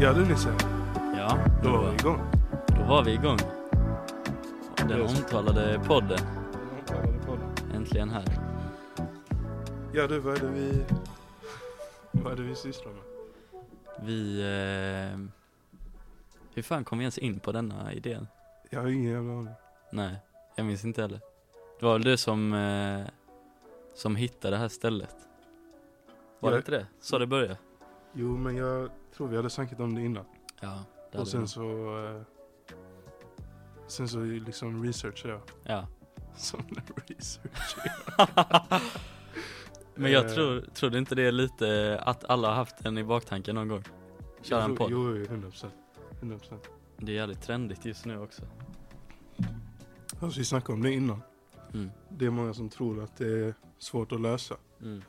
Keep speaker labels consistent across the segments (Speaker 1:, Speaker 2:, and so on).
Speaker 1: Ja du Nisse,
Speaker 2: Ja,
Speaker 1: då
Speaker 2: då
Speaker 1: var vi
Speaker 2: var,
Speaker 1: igång.
Speaker 2: då var vi igång. Och Den
Speaker 1: Just.
Speaker 2: omtalade podden, äntligen här.
Speaker 1: Ja du, vad är det vi... Vad är det vi sysslar med?
Speaker 2: Vi... Eh, hur fan kom vi ens in på denna idén?
Speaker 1: Jag har ingen jävla aning.
Speaker 2: Nej, jag minns inte heller. Det var väl du som, eh, som hittade det här stället? Var
Speaker 1: Ja.
Speaker 2: det inte det? Så det började?
Speaker 1: Jo men jag tror vi hade snackat om det innan.
Speaker 2: Ja, det hade
Speaker 1: Och sen
Speaker 2: vi.
Speaker 1: så... Eh, sen så liksom researchade jag.
Speaker 2: ja.
Speaker 1: Som en research.
Speaker 2: Men jag
Speaker 1: Eh.
Speaker 2: tror, tror du inte det är lite att alla har haft den i baktanken någon gång? Köra en
Speaker 1: Jo,
Speaker 2: podd.
Speaker 1: Jo, jo, 100%. 100%.
Speaker 2: Det är jävligt trendigt just nu också.
Speaker 1: Alltså vi snackade om det innan.
Speaker 2: Mm.
Speaker 1: Det är många som tror att det är svårt att lösa.
Speaker 2: Mm.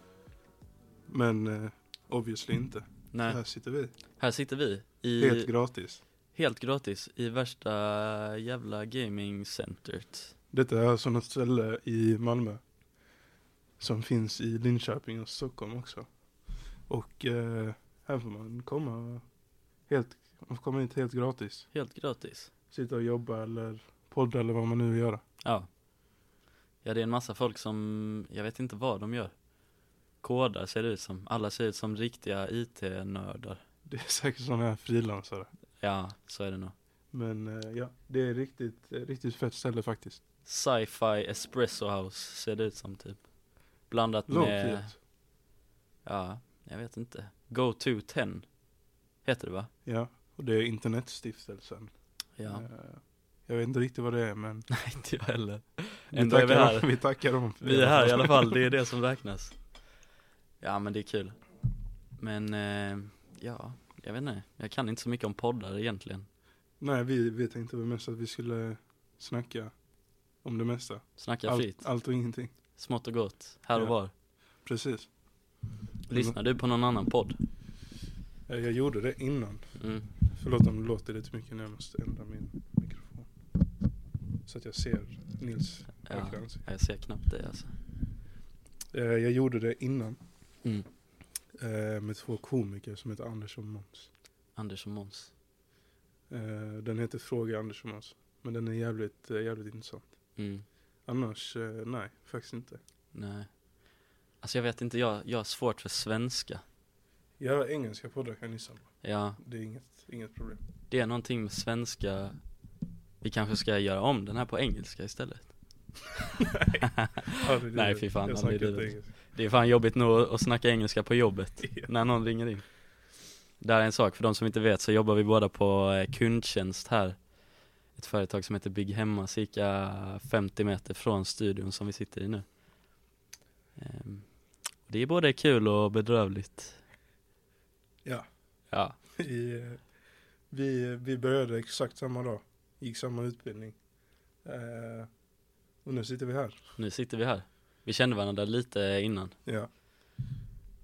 Speaker 1: Men eh, obviously inte.
Speaker 2: Nej,
Speaker 1: Här sitter vi.
Speaker 2: här sitter vi i...
Speaker 1: Helt gratis.
Speaker 2: Helt gratis i värsta jävla gamingcentret.
Speaker 1: Detta är alltså något ställe i Malmö. Som finns i Linköping och Stockholm också. Och eh, här får man komma helt, man får komma hit helt gratis.
Speaker 2: Helt gratis.
Speaker 1: Sitta och jobba eller podda eller vad man nu vill göra.
Speaker 2: Ja. Ja det är en massa folk som, jag vet inte vad de gör. Kodar ser det ut som. Alla ser ut som riktiga IT-nördar.
Speaker 1: Det är säkert sådana här frilansare.
Speaker 2: Ja, så är det nog.
Speaker 1: Men eh, ja, det är riktigt, eh, riktigt fett ställe faktiskt.
Speaker 2: Sci-fi espresso house ser det ut som typ. Blandat med,
Speaker 1: Långt
Speaker 2: ja, jag vet inte. Go to 10 heter det va?
Speaker 1: Ja, och det är internetstiftelsen.
Speaker 2: Ja,
Speaker 1: Eh, Jag vet inte riktigt vad det är men
Speaker 2: nej inte jag heller.
Speaker 1: vi
Speaker 2: Ändå är vi
Speaker 1: tackar,
Speaker 2: här.
Speaker 1: dem, vi tackar dem. för
Speaker 2: Vi
Speaker 1: det.
Speaker 2: är här i alla fall, det är det som räknas Ja men det är kul Men, eh, ja, jag vet inte Jag kan inte så mycket om poddar egentligen
Speaker 1: Nej, vi, vi tänkte väl mest att vi skulle snacka om det mesta.
Speaker 2: Snacka
Speaker 1: Allt,
Speaker 2: fritt,
Speaker 1: allt och ingenting.
Speaker 2: smått och gott, här och
Speaker 1: Ja.
Speaker 2: var
Speaker 1: Precis.
Speaker 2: Lyssnar du på någon annan podd?
Speaker 1: Eh, Jag gjorde det innan.
Speaker 2: Mm.
Speaker 1: Förlåt om det låter lite mycket nu. Jag måste ändra min mikrofon. Så att jag ser Nils
Speaker 2: Ja,
Speaker 1: verkliga ansikte.
Speaker 2: jag ser knappt dig alltså
Speaker 1: Eh, Jag gjorde det innan.
Speaker 2: mm.
Speaker 1: eh, Med två komiker som heter Anders och Måns.
Speaker 2: Anders och Måns
Speaker 1: Eh, Den heter Fråga Anders och Måns. Men den är jävligt, eh, jävligt intressant.
Speaker 2: mm.
Speaker 1: Annars, eh, nej, faktiskt inte.
Speaker 2: Nej Alltså jag vet inte, jag, jag har svårt för svenska
Speaker 1: Jag har engelska poddar kan jag gissa.
Speaker 2: Ja,
Speaker 1: Det är inget, inget problem.
Speaker 2: det är någonting med svenska Vi kanske ska göra om den här på engelska istället
Speaker 1: Aldrig
Speaker 2: Nej,
Speaker 1: livet.
Speaker 2: fy fan,
Speaker 1: Jag
Speaker 2: aldrig
Speaker 1: snackar inte
Speaker 2: livet.
Speaker 1: engelska.
Speaker 2: Det är fan jobbigt nog att snacka engelska på jobbet när någon ringer in. Där är en sak, för de som inte vet så jobbar vi båda på eh, kundtjänst här. Ett företag som heter Bygg Hemma, cirka 50 meter från studion som vi sitter i nu. Ehm, Det är både kul och bedrövligt.
Speaker 1: Ja,
Speaker 2: Ja.
Speaker 1: vi, eh, vi, vi började exakt samma dag. Gick samma utbildning. Eh, och nu sitter vi här.
Speaker 2: Nu sitter vi här. Vi kände varandra lite innan.
Speaker 1: Ja.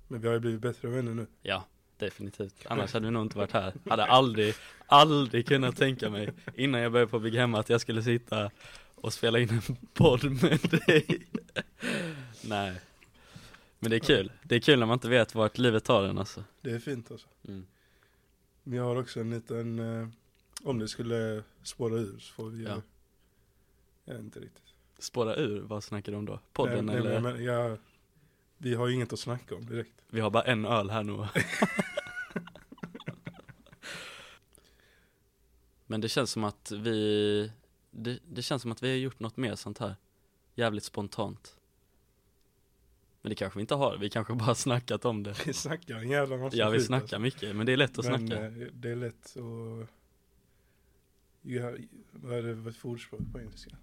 Speaker 1: Men vi har ju blivit bättre vänner nu.
Speaker 2: Ja, definitivt. Annars hade vi nog inte varit här. Hade aldrig, aldrig kunnat tänka mig innan jag började på Big Hemma att jag skulle sitta och spela in en podd med dig. Nej. Men det är kul. Det är kul när man inte vet vart livet tar en alltså.
Speaker 1: Det är fint alltså.
Speaker 2: Mm.
Speaker 1: Men jag har också en liten, eh, om det skulle spåra ur så får vi
Speaker 2: Ja.
Speaker 1: Jag vet inte riktigt.
Speaker 2: Spåra ur, vad snackar du om då? Podden
Speaker 1: nej,
Speaker 2: eller?
Speaker 1: Nej, men jag, vi har ju inget att snacka om direkt.
Speaker 2: Vi har bara en öl här nu. Men det känns som att vi, det, det känns som att vi har gjort något mer sånt här. Jävligt spontant. Men det kanske vi inte har, vi kanske bara har snackat om det.
Speaker 1: Vi snackar en jävla massa
Speaker 2: Ja vi
Speaker 1: skit, alltså.
Speaker 2: snackar mycket, men det är lätt att snacka.
Speaker 1: eh, det är lätt att... Ja, vad är det vad är för ordspråk på engelska?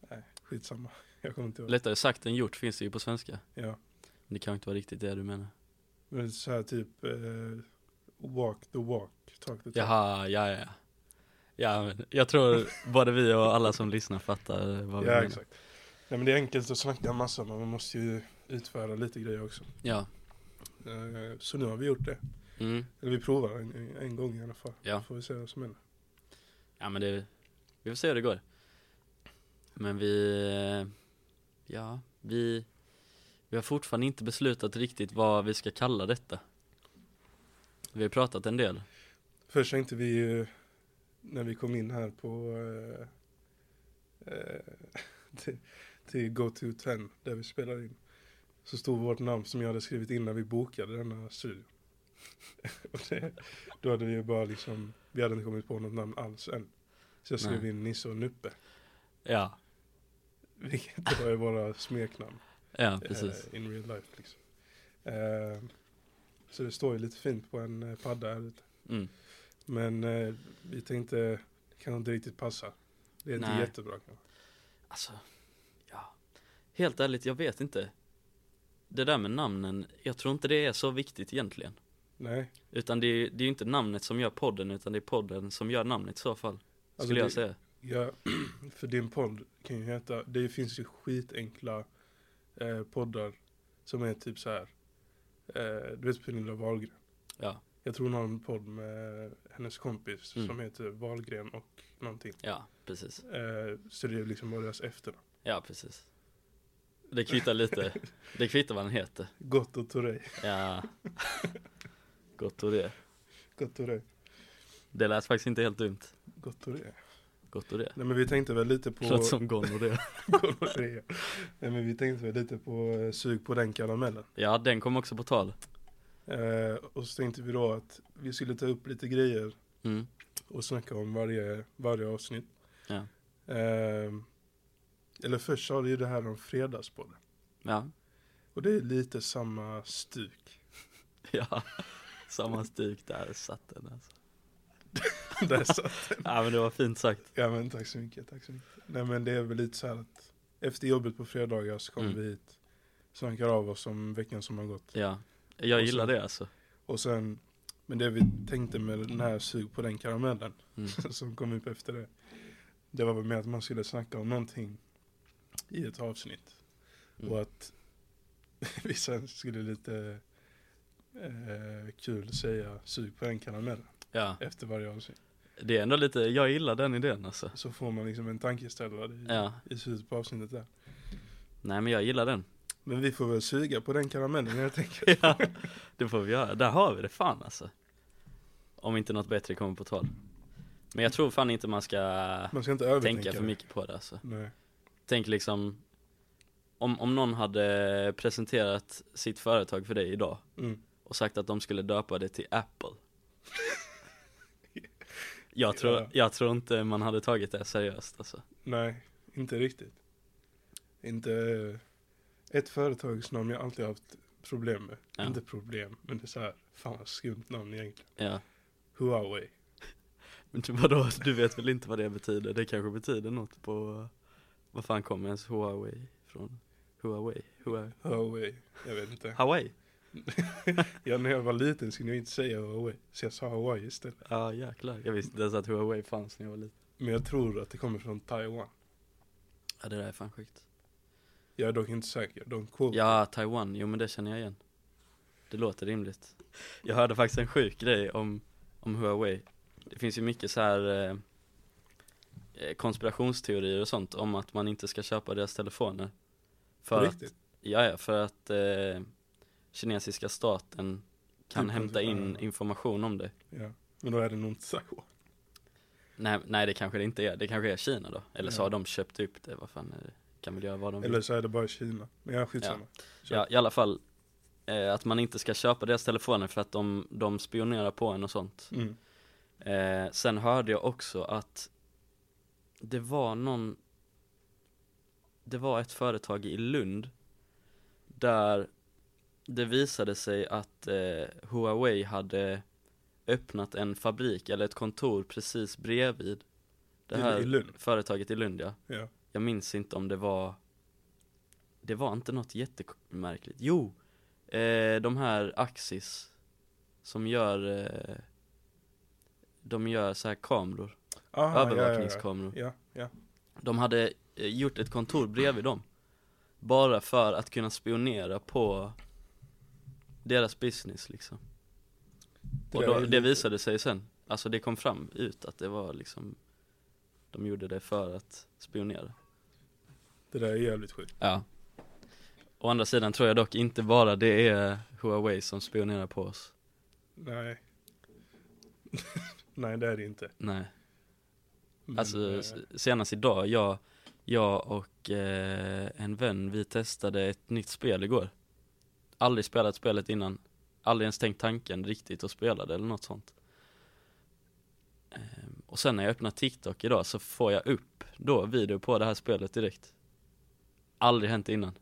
Speaker 1: Nej, skitsamma. Jag kommer inte ihåg.
Speaker 2: Lättare sagt än gjort finns det ju på svenska.
Speaker 1: Ja.
Speaker 2: Men det kanske inte var riktigt det du menar.
Speaker 1: Men så här typ... Eh, walk the walk, talk the talk.
Speaker 2: Jaha, ja ja. Ja, men jag tror både vi och alla som lyssnar fattar vad vi
Speaker 1: Ja,
Speaker 2: menar.
Speaker 1: exakt. Nej men det är enkelt att snacka en massa men man måste ju utföra lite grejer också.
Speaker 2: Ja.
Speaker 1: Eh, så nu har vi gjort det.
Speaker 2: Mm.
Speaker 1: Eller vi provar en, en gång i alla fall.
Speaker 2: Ja.
Speaker 1: Får vi se vad som händer.
Speaker 2: Ja men det, vi får se hur det går Men vi, eh, ja, vi, vi har fortfarande inte beslutat riktigt vad vi ska kalla detta Vi har pratat en del.
Speaker 1: Först tänkte vi ju när vi kom in här på eh, eh, till, till Go to 10 där vi spelar in. Så stod vårt namn som jag hade skrivit innan vi bokade denna studion. Och det, då hade vi ju bara liksom, vi hade inte kommit på något namn alls än. Så jag skrev
Speaker 2: Nej.
Speaker 1: in Nisse och Nuppe.
Speaker 2: Ja,
Speaker 1: Vilket var ju våra smeknamn.
Speaker 2: ja
Speaker 1: eh,
Speaker 2: precis.
Speaker 1: in real life liksom. Eh, så det står ju lite fint på en eh, padda här ute.
Speaker 2: Mm.
Speaker 1: Men eh, vi tänkte, det kan inte riktigt passa. Det är inte
Speaker 2: Nej.
Speaker 1: jättebra kanske.
Speaker 2: Alltså, ja. Helt ärligt, jag vet inte. Det där med namnen, jag tror inte det är så viktigt egentligen.
Speaker 1: Nej. Alltså,
Speaker 2: Utan det är, det är ju inte namnet som gör podden, utan det är podden som gör namnet i så fall.
Speaker 1: Alltså,
Speaker 2: skulle jag
Speaker 1: det-
Speaker 2: säga.
Speaker 1: Ja, för din podd kan ju heta, det finns ju skitenkla eh, poddar som är typ så här. Eh, du vet Pernilla Wahlgren?
Speaker 2: Ja.
Speaker 1: Jag tror hon har en podd med hennes kompis
Speaker 2: Mm.
Speaker 1: som heter Wahlgren och någonting.
Speaker 2: Ja, precis.
Speaker 1: Eh, så det är liksom bara deras efternamn.
Speaker 2: Ja, precis. Det kvittar lite. Det kvittar vad den heter.
Speaker 1: Gott och Torej.
Speaker 2: Ja. Gott och det.
Speaker 1: Gott och det.
Speaker 2: Det lät faktiskt inte helt dumt.
Speaker 1: Gott och det.
Speaker 2: Gott och det.
Speaker 1: Nej men vi tänkte väl lite på...
Speaker 2: Låter som Gon och det.
Speaker 1: gonorré. Nej men vi tänkte väl lite på eh, sug på den karamellen.
Speaker 2: Ja, den kom också på tal.
Speaker 1: Eh, och så tänkte vi då att vi skulle ta upp lite grejer
Speaker 2: Mm.
Speaker 1: och snacka om varje, varje avsnitt.
Speaker 2: Ja.
Speaker 1: Eh, eller först sa du ju det här om fredagspodden.
Speaker 2: Ja.
Speaker 1: Och det är lite samma stuk.
Speaker 2: Ja. Samma stuk där satt den alltså.
Speaker 1: Där satt.
Speaker 2: Ja, men det var fint sagt.
Speaker 1: ja men tack så mycket, tack så mycket. Nej men det är väl lite så här att efter jobbet på fredagar så kommer
Speaker 2: Mm.
Speaker 1: vi hit, snackar av oss om veckan som har gått.
Speaker 2: Ja. Jag
Speaker 1: Och
Speaker 2: gillar
Speaker 1: så-
Speaker 2: det alltså.
Speaker 1: Och sen, men det vi tänkte med den här sug på den karamellen
Speaker 2: Mm.
Speaker 1: som kom upp efter det. Det var väl med att man skulle snacka om någonting i ett avsnitt.
Speaker 2: Mm.
Speaker 1: Och att vi sen skulle lite eh, kul säga sug på en karamell
Speaker 2: Ja.
Speaker 1: efter varje avsnitt.
Speaker 2: Det är ändå lite, jag gillar den idén alltså.
Speaker 1: Så får man liksom en tankeställare i,
Speaker 2: Ja.
Speaker 1: i slutet på avsnittet där.
Speaker 2: Nej, men jag gillar den.
Speaker 1: Men vi får väl suga på den karamellen helt enkelt.
Speaker 2: Ja, det får vi göra. Där har vi det fan alltså. Om inte något bättre kommer på tal. Men jag tror fan inte man ska
Speaker 1: Man ska inte övertänka
Speaker 2: tänka för
Speaker 1: det.
Speaker 2: mycket på det alltså.
Speaker 1: Nej.
Speaker 2: Tänk liksom, om, om någon hade presenterat sitt företag för dig idag
Speaker 1: Mm.
Speaker 2: och sagt att de skulle döpa det till Apple. Jag tror,
Speaker 1: Ja.
Speaker 2: jag tror inte man hade tagit det seriöst alltså.
Speaker 1: Nej, inte riktigt. Inte ett företagsnamn jag alltid haft problem med.
Speaker 2: Ja.
Speaker 1: Inte problem, men det är så här, fan vad skumt namn egentligen.
Speaker 2: Ja.
Speaker 1: Huawei.
Speaker 2: Men du, vadå, Alltså, du vet väl inte vad det betyder? Det kanske betyder något på, vad fan kommer ens Huawei från? Huawei? Huawei?
Speaker 1: Huawei. Jag vet inte.
Speaker 2: Hawaii?
Speaker 1: Ja, när jag var liten skulle jag inte säga Huawei, så jag sa Hawaii istället.
Speaker 2: Ja jäklar, jag visste inte ens att Huawei fanns när jag var liten
Speaker 1: Men jag tror att det kommer från Taiwan.
Speaker 2: Ja det där är fan sjukt
Speaker 1: Jag är dock inte säker, de quote.
Speaker 2: Ja, Taiwan, jo men det känner jag igen Det låter rimligt Jag hörde faktiskt en sjuk grej om, om Huawei Det finns ju mycket så här eh, eh, konspirationsteorier och sånt om att man inte ska köpa deras telefoner
Speaker 1: På
Speaker 2: För att,
Speaker 1: riktigt.
Speaker 2: ja, ja, för att eh, kinesiska staten kan
Speaker 1: Typ
Speaker 2: hämta in
Speaker 1: kontrollera.
Speaker 2: information om det
Speaker 1: Ja. Men då är det nog inte Taiwan.
Speaker 2: nej, nej det kanske det inte är, det kanske är Kina då Eller så
Speaker 1: Ja.
Speaker 2: har de köpt upp det, vad fan är det? Kan väl göra vad de vill
Speaker 1: Eller så är det bara Kina. Men jag skitsamma. Så-
Speaker 2: Ja, i alla fall eh, att man inte ska köpa deras telefoner för att de, de spionerar på en och sånt.
Speaker 1: Mm.
Speaker 2: Eh, sen hörde jag också att det var någon, det var ett företag i Lund där det visade sig att eh, Huawei hade öppnat en fabrik eller ett kontor precis bredvid det
Speaker 1: I-
Speaker 2: här
Speaker 1: I Lund.
Speaker 2: företaget i Lund ja.
Speaker 1: Ja.
Speaker 2: Jag minns inte om det var Det var inte något jättemärkligt Jo! Eh, de här Axis Som gör eh, De gör så här kameror
Speaker 1: Ah,
Speaker 2: Övervakningskameror
Speaker 1: Ja, ja, ja.
Speaker 2: De hade eh, gjort ett kontor bredvid dem Bara för att kunna spionera på Deras business liksom
Speaker 1: Det
Speaker 2: Och
Speaker 1: där är
Speaker 2: då,
Speaker 1: ju
Speaker 2: det
Speaker 1: lite-
Speaker 2: visade sig sen Alltså det kom fram ut att det var liksom De gjorde det för att spionera
Speaker 1: Det där är jävligt sjukt.
Speaker 2: Ja Å andra sidan tror jag dock inte bara det är Huawei som spionerar på oss
Speaker 1: Nej. Nej det är det inte.
Speaker 2: Nej.
Speaker 1: Men,
Speaker 2: Alltså
Speaker 1: eh,
Speaker 2: s- senast idag, jag, jag och eh, en vän, vi testade ett nytt spel igår. Aldrig spelat spelet innan. Aldrig ens tänkt tanken riktigt att spela det eller något sånt. Ehm, och sen när jag öppnar TikTok idag så får jag upp då video på det här spelet direkt. Aldrig hänt innan.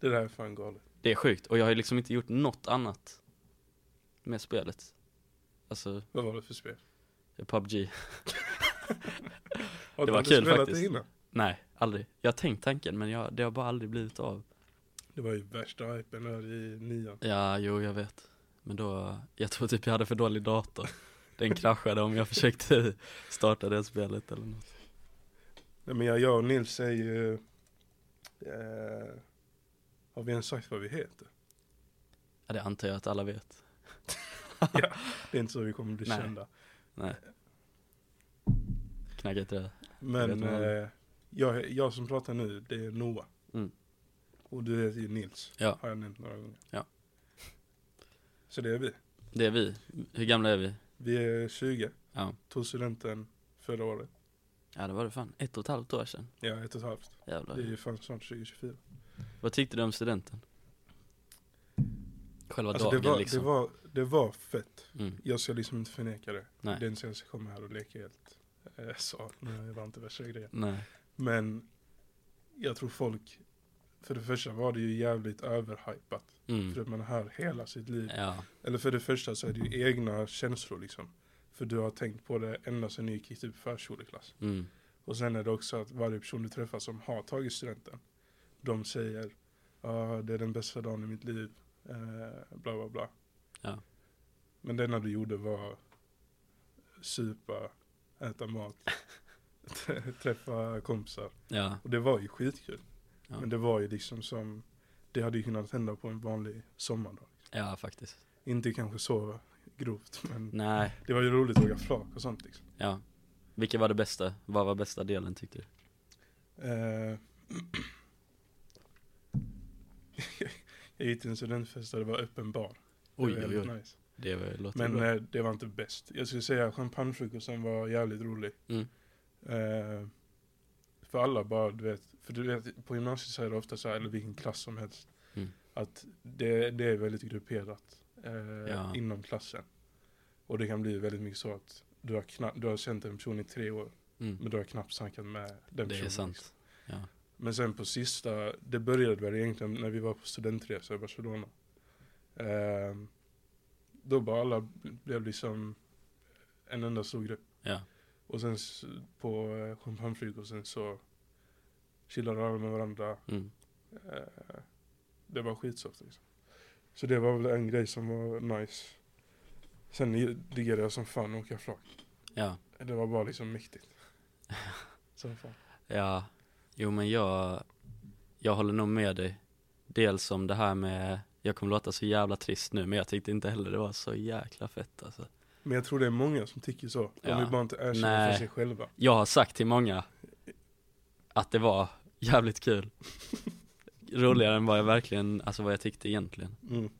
Speaker 1: det där är fan galet.
Speaker 2: Det är sjukt och jag har ju liksom inte gjort något annat med spelet. Alltså,
Speaker 1: Vad var det för spel?
Speaker 2: PubG.
Speaker 1: Har
Speaker 2: var
Speaker 1: du
Speaker 2: kul
Speaker 1: spelat
Speaker 2: faktiskt.
Speaker 1: Det, innan?
Speaker 2: Nej, aldrig. Jag har tänkt tanken men jag, det har bara aldrig blivit av.
Speaker 1: det var ju värsta hypen där i nian.
Speaker 2: Ja, jo jag vet. Men då, jag tror typ jag hade för dålig dator. Den kraschade om jag försökte starta det spelet eller något.
Speaker 1: Nej men jag, jag och Nils är ju... Eh, har vi ens sagt vad vi heter?
Speaker 2: Ja, det antar jag att alla vet.
Speaker 1: Det är inte så vi kommer bli
Speaker 2: Nej.
Speaker 1: kända.
Speaker 2: Knacka inte det. Jag
Speaker 1: Men
Speaker 2: vet inte.
Speaker 1: eh, jag, jag som pratar nu, det är Noah.
Speaker 2: Mm.
Speaker 1: Och du heter ju Nils.
Speaker 2: Ja.
Speaker 1: Har jag nämnt några gånger.
Speaker 2: Ja.
Speaker 1: Så det är vi.
Speaker 2: Det är vi. Hur gamla är vi?
Speaker 1: Vi är 20.
Speaker 2: Ja.
Speaker 1: Tog studenten förra året.
Speaker 2: Ja, det var det fan. Ett och ett halvt år sedan.
Speaker 1: Ja, ett och ett halvt. Det är
Speaker 2: Jävlar.
Speaker 1: ju fan snart 2024.
Speaker 2: Vad tyckte du om studenten? Själva
Speaker 1: Alltså det
Speaker 2: dagen
Speaker 1: var,
Speaker 2: liksom.
Speaker 1: det, var, det var fett.
Speaker 2: Mm.
Speaker 1: Jag ska liksom inte förneka det.
Speaker 2: Nej.
Speaker 1: Det är inte så jag ska komma här och leka helt eh, så. Nu var inte värsta grejen.
Speaker 2: Nej.
Speaker 1: Men jag tror folk, för det första var det ju jävligt överhypat. För
Speaker 2: Mm.
Speaker 1: att man hör hela sitt liv.
Speaker 2: Ja.
Speaker 1: Eller för det första så är det ju egna känslor liksom. För du har tänkt på det ända sedan du gick i typ förskoleklass.
Speaker 2: Mm.
Speaker 1: Och sen är det också att varje person du träffar som har tagit studenten. De säger, ja det är den bästa dagen i mitt liv. Eh, bla bla bla.
Speaker 2: Ja.
Speaker 1: Men det enda du gjorde var supa, äta mat, träffa kompisar.
Speaker 2: Ja.
Speaker 1: Och det var ju skitkul.
Speaker 2: Ja.
Speaker 1: Men det var ju liksom som, det hade ju kunnat hända på en vanlig sommardag.
Speaker 2: Ja, faktiskt.
Speaker 1: Inte kanske så grovt, men
Speaker 2: Nej.
Speaker 1: det var ju roligt att åka flak och sånt liksom.
Speaker 2: Ja. Vilket var det bästa? Vad var bästa delen tyckte du?
Speaker 1: Eh, jag gick till en studentfest där det var öppen bar. Det var
Speaker 2: Oj, oj,
Speaker 1: jävligt
Speaker 2: oj.
Speaker 1: Nice.
Speaker 2: Det var- låter
Speaker 1: Men
Speaker 2: bra.
Speaker 1: eh, det var inte bäst. Jag skulle säga champagnefrukosten var jävligt rolig.
Speaker 2: Mm.
Speaker 1: Eh, för alla bara, du vet, för du vet, på gymnasiet så är det ofta så här, eller vilken klass som helst,
Speaker 2: Mm.
Speaker 1: att det, det är väldigt grupperat eh,
Speaker 2: Ja.
Speaker 1: inom klassen. Och det kan bli väldigt mycket så att du har, knappt, du har känt en person i tre år,
Speaker 2: Mm.
Speaker 1: men du har knappt snackat med den
Speaker 2: Det
Speaker 1: personen.
Speaker 2: är sant.
Speaker 1: liksom.
Speaker 2: Ja.
Speaker 1: Men sen på sista, det började väl egentligen när vi var på studentresa i Barcelona. Eh, då bara alla blev liksom en enda stor grupp.
Speaker 2: Ja.
Speaker 1: Och sen s- på eh, champagnefrukosten så chillade alla med varandra.
Speaker 2: Mm.
Speaker 1: Eh, Det var skitsoft liksom. Så det var väl en grej som var nice. Sen i- diggade jag som fan att åka flak.
Speaker 2: Ja.
Speaker 1: Det var bara liksom mäktigt. Som fan.
Speaker 2: Ja. Jo men jag, jag håller nog med dig. Dels om det här med, jag kommer låta så jävla trist nu men jag tyckte inte heller det var så jäkla fett alltså.
Speaker 1: Men jag tror det är många som tycker så. De
Speaker 2: Ja.
Speaker 1: vill bara inte erkänna
Speaker 2: Nej.
Speaker 1: för sig själva.
Speaker 2: Jag har sagt till många att det var jävligt kul. Roligare än vad jag verkligen, alltså vad jag tyckte egentligen.
Speaker 1: Mm.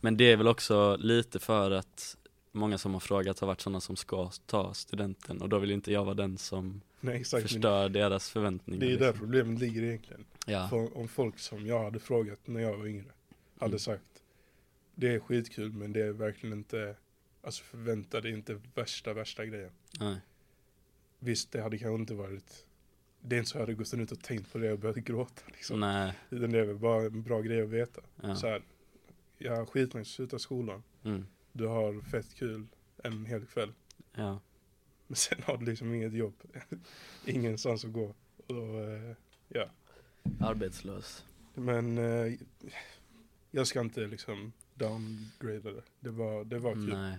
Speaker 2: Men det är väl också lite för att många som har frågat har varit sådana som ska ta studenten och då vill inte jag vara den som
Speaker 1: Nej exakt. men
Speaker 2: förstör deras förväntningar.
Speaker 1: Det är ju där
Speaker 2: liksom.
Speaker 1: problemet ligger egentligen.
Speaker 2: Ja.
Speaker 1: För om folk som jag hade frågat när jag var yngre hade
Speaker 2: Mm.
Speaker 1: sagt det är skitkul men det är verkligen inte, alltså förvänta dig inte värsta, värsta grejen.
Speaker 2: Nej.
Speaker 1: Visst, det hade kanske inte varit, det är inte så jag hade gått ut och tänkt på det och börjat gråta liksom.
Speaker 2: Nej.
Speaker 1: Utan det är väl bara en bra grej att veta.
Speaker 2: Ja.
Speaker 1: Så här, jag har skitnice, sluta skolan,
Speaker 2: Mm.
Speaker 1: du har fett kul en hel kväll.
Speaker 2: Ja.
Speaker 1: Men sen har du liksom inget jobb, ingenstans att gå. Och, eh,
Speaker 2: Arbetslös.
Speaker 1: Men eh, jag ska inte liksom downgrada det. Det var, det var kul.
Speaker 2: Nej.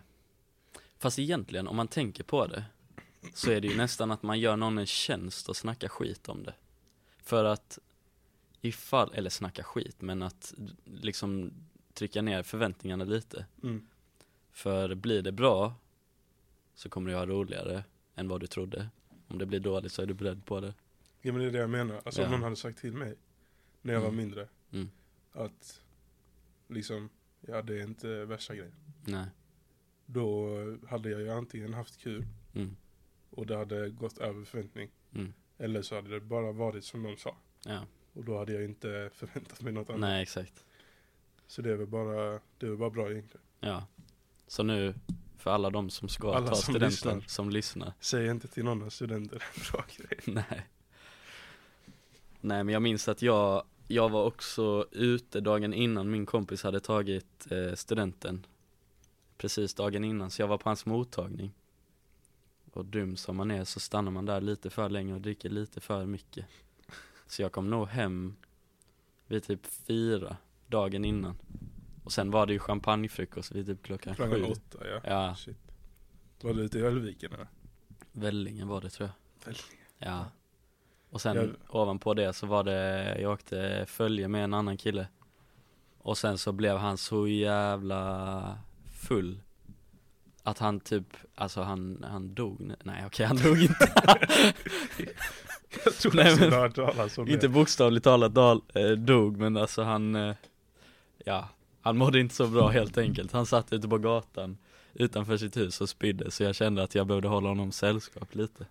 Speaker 2: Fast egentligen, om man tänker på det, så är det ju nästan att man gör någon en tjänst och snackar skit om det. För att ifall, eller snacka skit, men att liksom trycka ner förväntningarna lite.
Speaker 1: Mm.
Speaker 2: För blir det bra så kommer det ha roligare än vad du trodde. Om det blir dåligt så är du beredd på det.
Speaker 1: Ja men det är det jag menar. Alltså om
Speaker 2: Ja.
Speaker 1: någon hade sagt till mig när jag
Speaker 2: Mm.
Speaker 1: var mindre
Speaker 2: Mm.
Speaker 1: att liksom, ja det är inte värsta grejen.
Speaker 2: Nej.
Speaker 1: Då hade jag ju antingen haft kul
Speaker 2: Mm.
Speaker 1: och det hade gått över förväntning.
Speaker 2: Mm.
Speaker 1: Eller så hade det bara varit som de sa.
Speaker 2: Ja.
Speaker 1: Och då hade jag inte förväntat mig något annat.
Speaker 2: Nej, exakt.
Speaker 1: Så det är väl bara, det är väl bara bra egentligen.
Speaker 2: Ja. Så nu, för alla de som ska
Speaker 1: Alla
Speaker 2: ta
Speaker 1: som
Speaker 2: studenten,
Speaker 1: lyssnar.
Speaker 2: som lyssnar.
Speaker 1: Säg inte till någon av studenter det är en bra grej.
Speaker 2: Nej. Nej, men jag minns att jag, jag var också ute dagen innan min kompis hade tagit eh, studenten. Precis dagen innan, så jag var på hans mottagning. Och dum som man är så stannar man där lite för länge och dricker lite för mycket. Så jag kom nog hem vid typ fyra dagen innan. Och sen var det ju champagnefrukost vid typ klockan,
Speaker 1: Klockan
Speaker 2: sju.
Speaker 1: åtta, ja.
Speaker 2: Ja,
Speaker 1: Shit. Var du ute i Höllviken eller?
Speaker 2: Vällingen var det tror jag.
Speaker 1: Väldigt.
Speaker 2: Ja. Och sen
Speaker 1: Jag-
Speaker 2: ovanpå det så var det, jag åkte följe med en annan kille. Och sen så blev han så jävla full. Att han typ, alltså han, han dog, nä- nej okej han dog inte,
Speaker 1: Jag tror
Speaker 2: Nej,
Speaker 1: att
Speaker 2: men-
Speaker 1: du har hört talas om det.
Speaker 2: inte bokstavligt talat dal, eh, dog men alltså han, eh, ja, han mådde inte så bra helt enkelt. Han satt ute på gatan utanför sitt hus och spydde så jag kände att jag behövde hålla honom sällskap lite.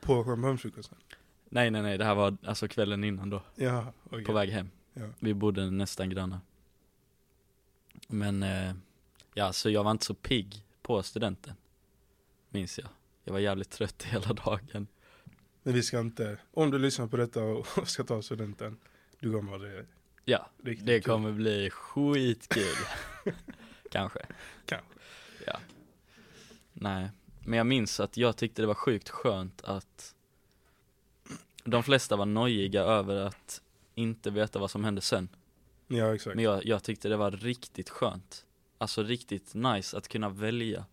Speaker 1: På champagnefrukosten?
Speaker 2: Nej nej nej, det här var alltså kvällen innan då.
Speaker 1: Ja, okej.
Speaker 2: på väg hem.
Speaker 1: Ja.
Speaker 2: Vi bodde nästan grannar. Men eh, ja, så jag var inte så pigg på studenten. Minns jag. Jag var jävligt trött hela dagen.
Speaker 1: Men vi ska inte, om du lyssnar på detta och och ska ta studenten, du kommer ha det
Speaker 2: Ja,
Speaker 1: riktigt
Speaker 2: det
Speaker 1: kul.
Speaker 2: kommer bli skitkul. Kanske.
Speaker 1: Kanske.
Speaker 2: Ja. Nej, men jag minns att jag tyckte det var sjukt skönt att de flesta var nojiga över att inte veta vad som hände sen.
Speaker 1: Ja, exakt.
Speaker 2: Men jag, jag tyckte det var riktigt skönt Alltså riktigt nice att kunna välja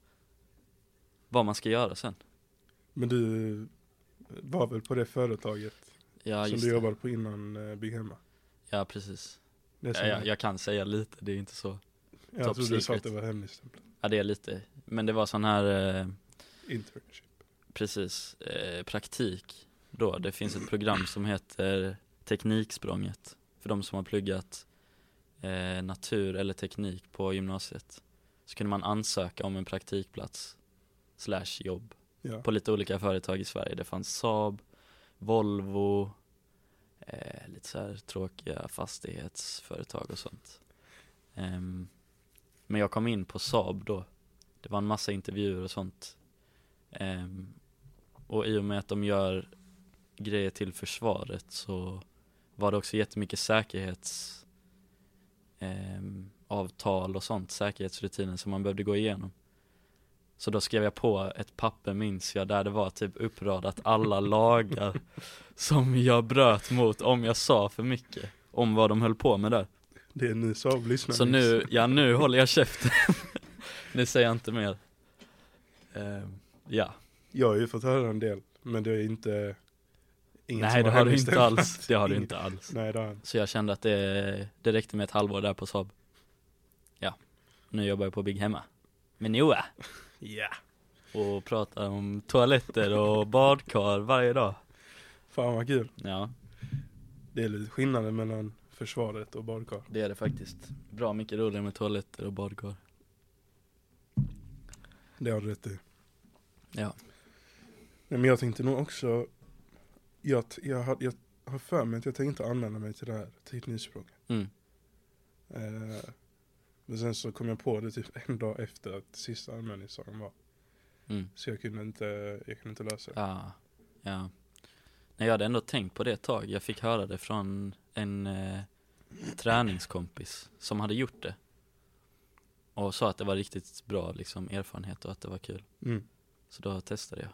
Speaker 2: vad man ska göra sen
Speaker 1: Men du eh, var väl på det företaget
Speaker 2: Ja
Speaker 1: som
Speaker 2: just
Speaker 1: du
Speaker 2: det.
Speaker 1: jobbade på innan eh, Big Hemma?
Speaker 2: Ja precis
Speaker 1: Det
Speaker 2: ja,
Speaker 1: som-
Speaker 2: jag, jag kan säga lite, det är inte så
Speaker 1: jag
Speaker 2: top
Speaker 1: trodde du sa att det
Speaker 2: secret.
Speaker 1: var hemligstämplat.
Speaker 2: Ja det är lite, men det var sån här eh,
Speaker 1: Internship.
Speaker 2: Precis, eh, praktik då Det finns ett program som heter Tekniksprånget För de som har pluggat eh, natur eller teknik på gymnasiet Så kunde man ansöka om en praktikplats Slash jobb
Speaker 1: Ja.
Speaker 2: på lite olika företag i Sverige. Det fanns Saab, Volvo, eh, lite så här tråkiga fastighetsföretag och sånt. Ehm, men jag kom in på Saab då. Det var en massa intervjuer och sånt. Ehm, och i och med att de gör grejer till försvaret så var det också jättemycket säkerhets ehm, avtal och sånt, säkerhetsrutiner som man behövde gå igenom. Så då skrev jag på ett papper minns jag där det var typ uppradat alla lagar som jag bröt mot om jag sa för mycket om vad de höll på med där.
Speaker 1: Det är ni Saab lyssnar
Speaker 2: Så nu, ja nu håller jag käften. nu säger jag inte mer. Eh, ja,
Speaker 1: Jag har ju fått höra en del, men det är inte inget
Speaker 2: nej
Speaker 1: som
Speaker 2: det har du inte
Speaker 1: hemligstämplat.
Speaker 2: alls. Det har du
Speaker 1: Inget-
Speaker 2: inte alls.
Speaker 1: Nej det har jag inte.
Speaker 2: Så jag kände att det, det räckte med ett halvår där på Saab. Ja, nu jobbar jag på Big Hemma. Med Noah.
Speaker 1: Ja.
Speaker 2: Och pratar om toaletter och badkar varje dag.
Speaker 1: Fan vad kul.
Speaker 2: Ja.
Speaker 1: Det är lite skillnaden mellan försvaret och badkar.
Speaker 2: Det är det faktiskt. Bra mycket roligare med toaletter och badkar.
Speaker 1: Det har du rätt i.
Speaker 2: Ja.
Speaker 1: Nej, men jag tänkte nog också, jag, t- jag, har- jag har för mig att jag tänkte anmäla mig till det här teknikspråket.
Speaker 2: Mm.
Speaker 1: Eh, men sen så kom jag på det typ en dag efter att sista anmälningsdagen var.
Speaker 2: Mm.
Speaker 1: Så jag kunde inte, jag kunde inte lösa det.
Speaker 2: Ja. Ja. Nej, jag hade ändå tänkt på det ett tag. Jag fick höra det från en eh, träningskompis som hade gjort det. Och sa att det var riktigt bra liksom, erfarenhet och att det var kul.
Speaker 1: Mm.
Speaker 2: Så då testade jag.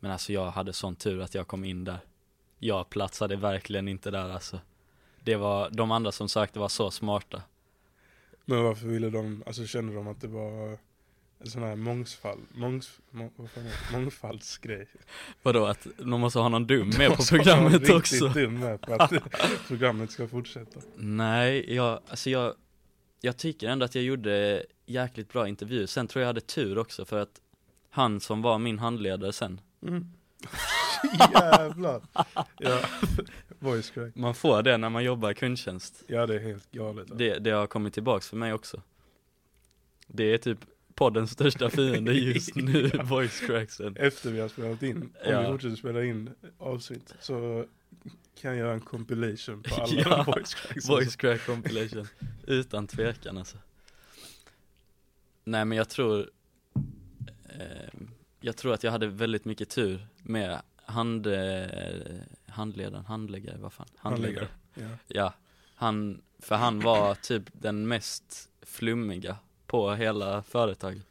Speaker 2: Men alltså jag hade sån tur att jag kom in där. Jag platsade verkligen inte där alltså. Det var, de andra som sökte var så smarta.
Speaker 1: Men varför ville de, alltså kände de att det var en sån här mångsfald, mångs, må, vad fan är det? mångfaldsgrej?
Speaker 2: Vadå att de måste ha någon dum med på
Speaker 1: Som var
Speaker 2: programmet
Speaker 1: riktigt
Speaker 2: också?
Speaker 1: dum med för att programmet ska fortsätta.
Speaker 2: Nej, jag, alltså jag, jag tycker ändå att jag gjorde jäkligt bra intervjuer. Sen tror jag jag hade tur också för att han som var min handledare sen,
Speaker 1: Mm. Jävlar! Ja, voice crack.
Speaker 2: man får det när man jobbar i kundtjänst.
Speaker 1: Ja det är helt galet. alltså.
Speaker 2: Det, det har kommit tillbaks för mig också. Det är typ poddens största fiende just nu, voice cracksen.
Speaker 1: Efter vi har spelat in, om vi
Speaker 2: Ja.
Speaker 1: fortsätter spela in avsnitt så kan jag göra en compilation på alla
Speaker 2: Ja,
Speaker 1: voice cracks.
Speaker 2: Voice crack compilation, utan tvekan alltså. Nej men jag tror, eh, jag tror att jag hade väldigt mycket tur med hand, eh, handledaren, handläggare, vad fan?
Speaker 1: Handläggare. Ja.
Speaker 2: Ja, han, för han var typ den mest flummiga på hela företaget.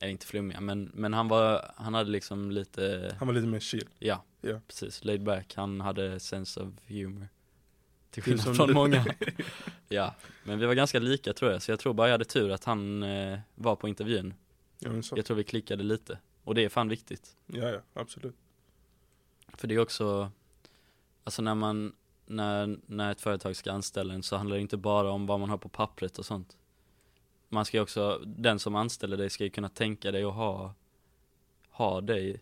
Speaker 2: Eller inte flummiga, men, men han var, han hade liksom lite,
Speaker 1: Han var lite mer chill.
Speaker 2: ja,
Speaker 1: Ja.
Speaker 2: precis, laid back, han hade sense of humor. Till
Speaker 1: Det är som
Speaker 2: skillnad från
Speaker 1: du.
Speaker 2: många. Ja, men vi var ganska lika tror jag, så jag tror bara jag hade tur att han eh, var på intervjun.
Speaker 1: Ja, men så.
Speaker 2: Jag tror vi klickade lite, och det är fan viktigt.
Speaker 1: ja, ja absolut.
Speaker 2: För det är också, alltså när man, när, när ett företag ska anställa en så handlar det inte bara om vad man har på pappret och sånt. Man ska ju också, den som anställer dig ska ju kunna tänka dig och ha, ha dig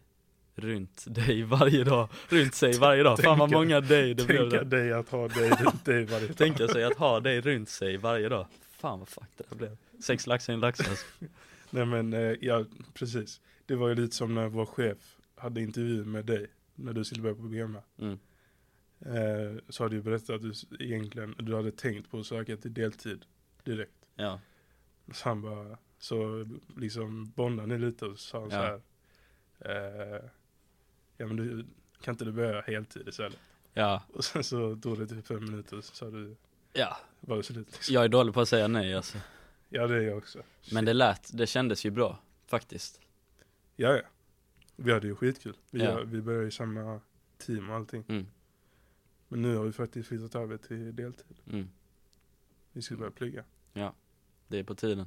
Speaker 2: runt dig varje dag, runt sig varje dag. Fan vad
Speaker 1: Tänka-
Speaker 2: många dig det blev
Speaker 1: Tänka
Speaker 2: där.
Speaker 1: dig att ha dig runt dig varje dag.
Speaker 2: Tänka sig att ha dig runt sig varje dag. Fan vad fuck det där blev. Sex laxar i en lax alltså.
Speaker 1: Nej men, eh, ja precis. Det var ju lite som när vår chef hade intervju med dig, när du skulle börja på programmet.
Speaker 2: Mm.
Speaker 1: Eh, så hade du berättat att du s- egentligen, du hade tänkt på att söka till deltid direkt.
Speaker 2: Ja,
Speaker 1: Så han bara, så liksom bondade ni lite och sa han
Speaker 2: Ja.
Speaker 1: så här. Eh, ja men du, kan inte du börja heltid istället?
Speaker 2: ja,
Speaker 1: Och sen så tog det typ fem minuter och så sa du,
Speaker 2: ja.
Speaker 1: var det slut liksom.
Speaker 2: Jag är dålig på att säga nej alltså.
Speaker 1: Ja det är jag också.
Speaker 2: Men det lät, det kändes ju bra faktiskt.
Speaker 1: Ja, ja. Vi hade ju skitkul. Vi,
Speaker 2: Ja.
Speaker 1: vi började i samma team och allting.
Speaker 2: Mm,
Speaker 1: Men nu har vi faktiskt flyttat över till deltid.
Speaker 2: mm.
Speaker 1: Vi skulle börja plugga.
Speaker 2: Det är på tiden.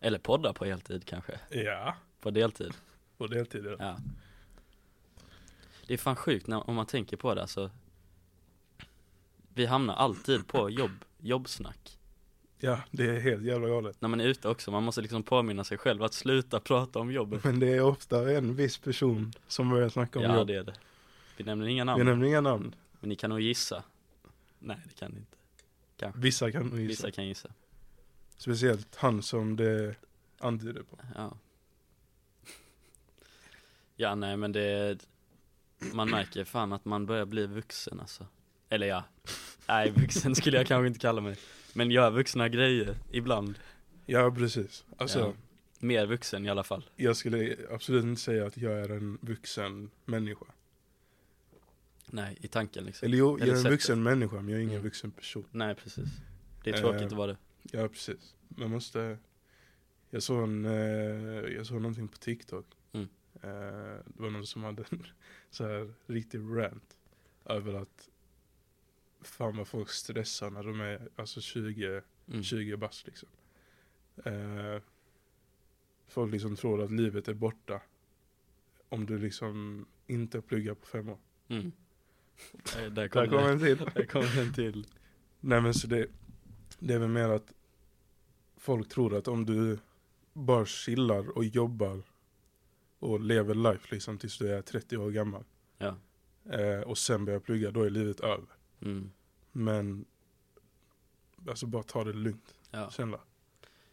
Speaker 2: Eller podda på heltid kanske,
Speaker 1: Ja,
Speaker 2: på deltid.
Speaker 1: på deltid. Ja.
Speaker 2: Ja. Det är fan sjukt när, om man tänker på det alltså. Vi hamnar alltid på jobb, jobbsnack.
Speaker 1: ja, det är helt jävla galet.
Speaker 2: När man är ute också, man måste liksom påminna sig själv att sluta prata om jobbet.
Speaker 1: Men det är ofta en viss person som börjar snacka om
Speaker 2: Ja
Speaker 1: jobb.
Speaker 2: det är det. Vi nämner inga
Speaker 1: Vi
Speaker 2: namn,
Speaker 1: nämner inga namn.
Speaker 2: men ni kan nog gissa. Nej det kan ni inte.
Speaker 1: Vissa kan nog gissa.
Speaker 2: Vissa kan gissa.
Speaker 1: Speciellt han som det antyder på.
Speaker 2: Ja. Ja nej men det Man märker fan att man börjar bli vuxen alltså Eller ja Nej vuxen skulle jag kanske inte kalla mig Men gör vuxna grejer ibland
Speaker 1: Ja, precis. Alltså,
Speaker 2: Ja. Mer vuxen i alla fall
Speaker 1: jag skulle absolut inte säga att jag är en vuxen människa.
Speaker 2: Nej i tanken liksom
Speaker 1: Eller jo,
Speaker 2: Eller
Speaker 1: jag är en
Speaker 2: sättet.
Speaker 1: vuxen människa, men jag är ingen
Speaker 2: Mm.
Speaker 1: vuxen person.
Speaker 2: Nej precis Det är
Speaker 1: Eh.
Speaker 2: tråkigt att vara det
Speaker 1: Ja, precis. Man måste... Jag såg, en, eh, jag såg någonting på TikTok.
Speaker 2: Mm.
Speaker 1: Eh, det var någon som hade en så här riktig rant över att fan vad folk stressar när de är alltså 20,
Speaker 2: mm.
Speaker 1: 20 bast liksom. Eh, folk liksom tror att livet är borta om du liksom inte pluggar på fem år.
Speaker 2: Mm. Eh, Där
Speaker 1: Där
Speaker 2: kom,
Speaker 1: kommer
Speaker 2: det.
Speaker 1: en till.
Speaker 2: Där kom en till
Speaker 1: Nej men så det, det är väl mer att folk tror att om du bara chillar och jobbar och lever life liksom tills du är 30 år gammal
Speaker 2: Ja
Speaker 1: eh, och sen börjar plugga, då är livet över.
Speaker 2: mm.
Speaker 1: Men alltså bara ta det lugnt,
Speaker 2: Ja
Speaker 1: snälla.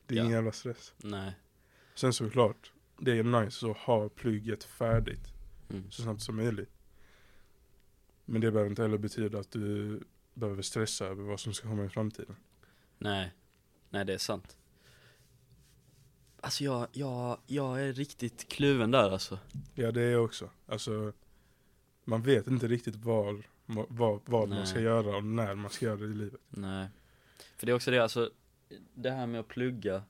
Speaker 1: Det är
Speaker 2: Ja.
Speaker 1: ingen jävla stress.
Speaker 2: Nej
Speaker 1: Sen såklart, det är nice att ha plugget färdigt
Speaker 2: mm.
Speaker 1: så snabbt som möjligt. Men det behöver inte heller betyda att du behöver stressa över vad som ska komma i framtiden.
Speaker 2: Nej, nej det är sant. Alltså jag, jag, jag är riktigt kluven där alltså.
Speaker 1: Ja det är jag också. Alltså, man vet inte riktigt var, var, vad man
Speaker 2: Nej.
Speaker 1: ska göra och när man ska göra det i livet.
Speaker 2: Nej. För det är också det, alltså, det här med att plugga,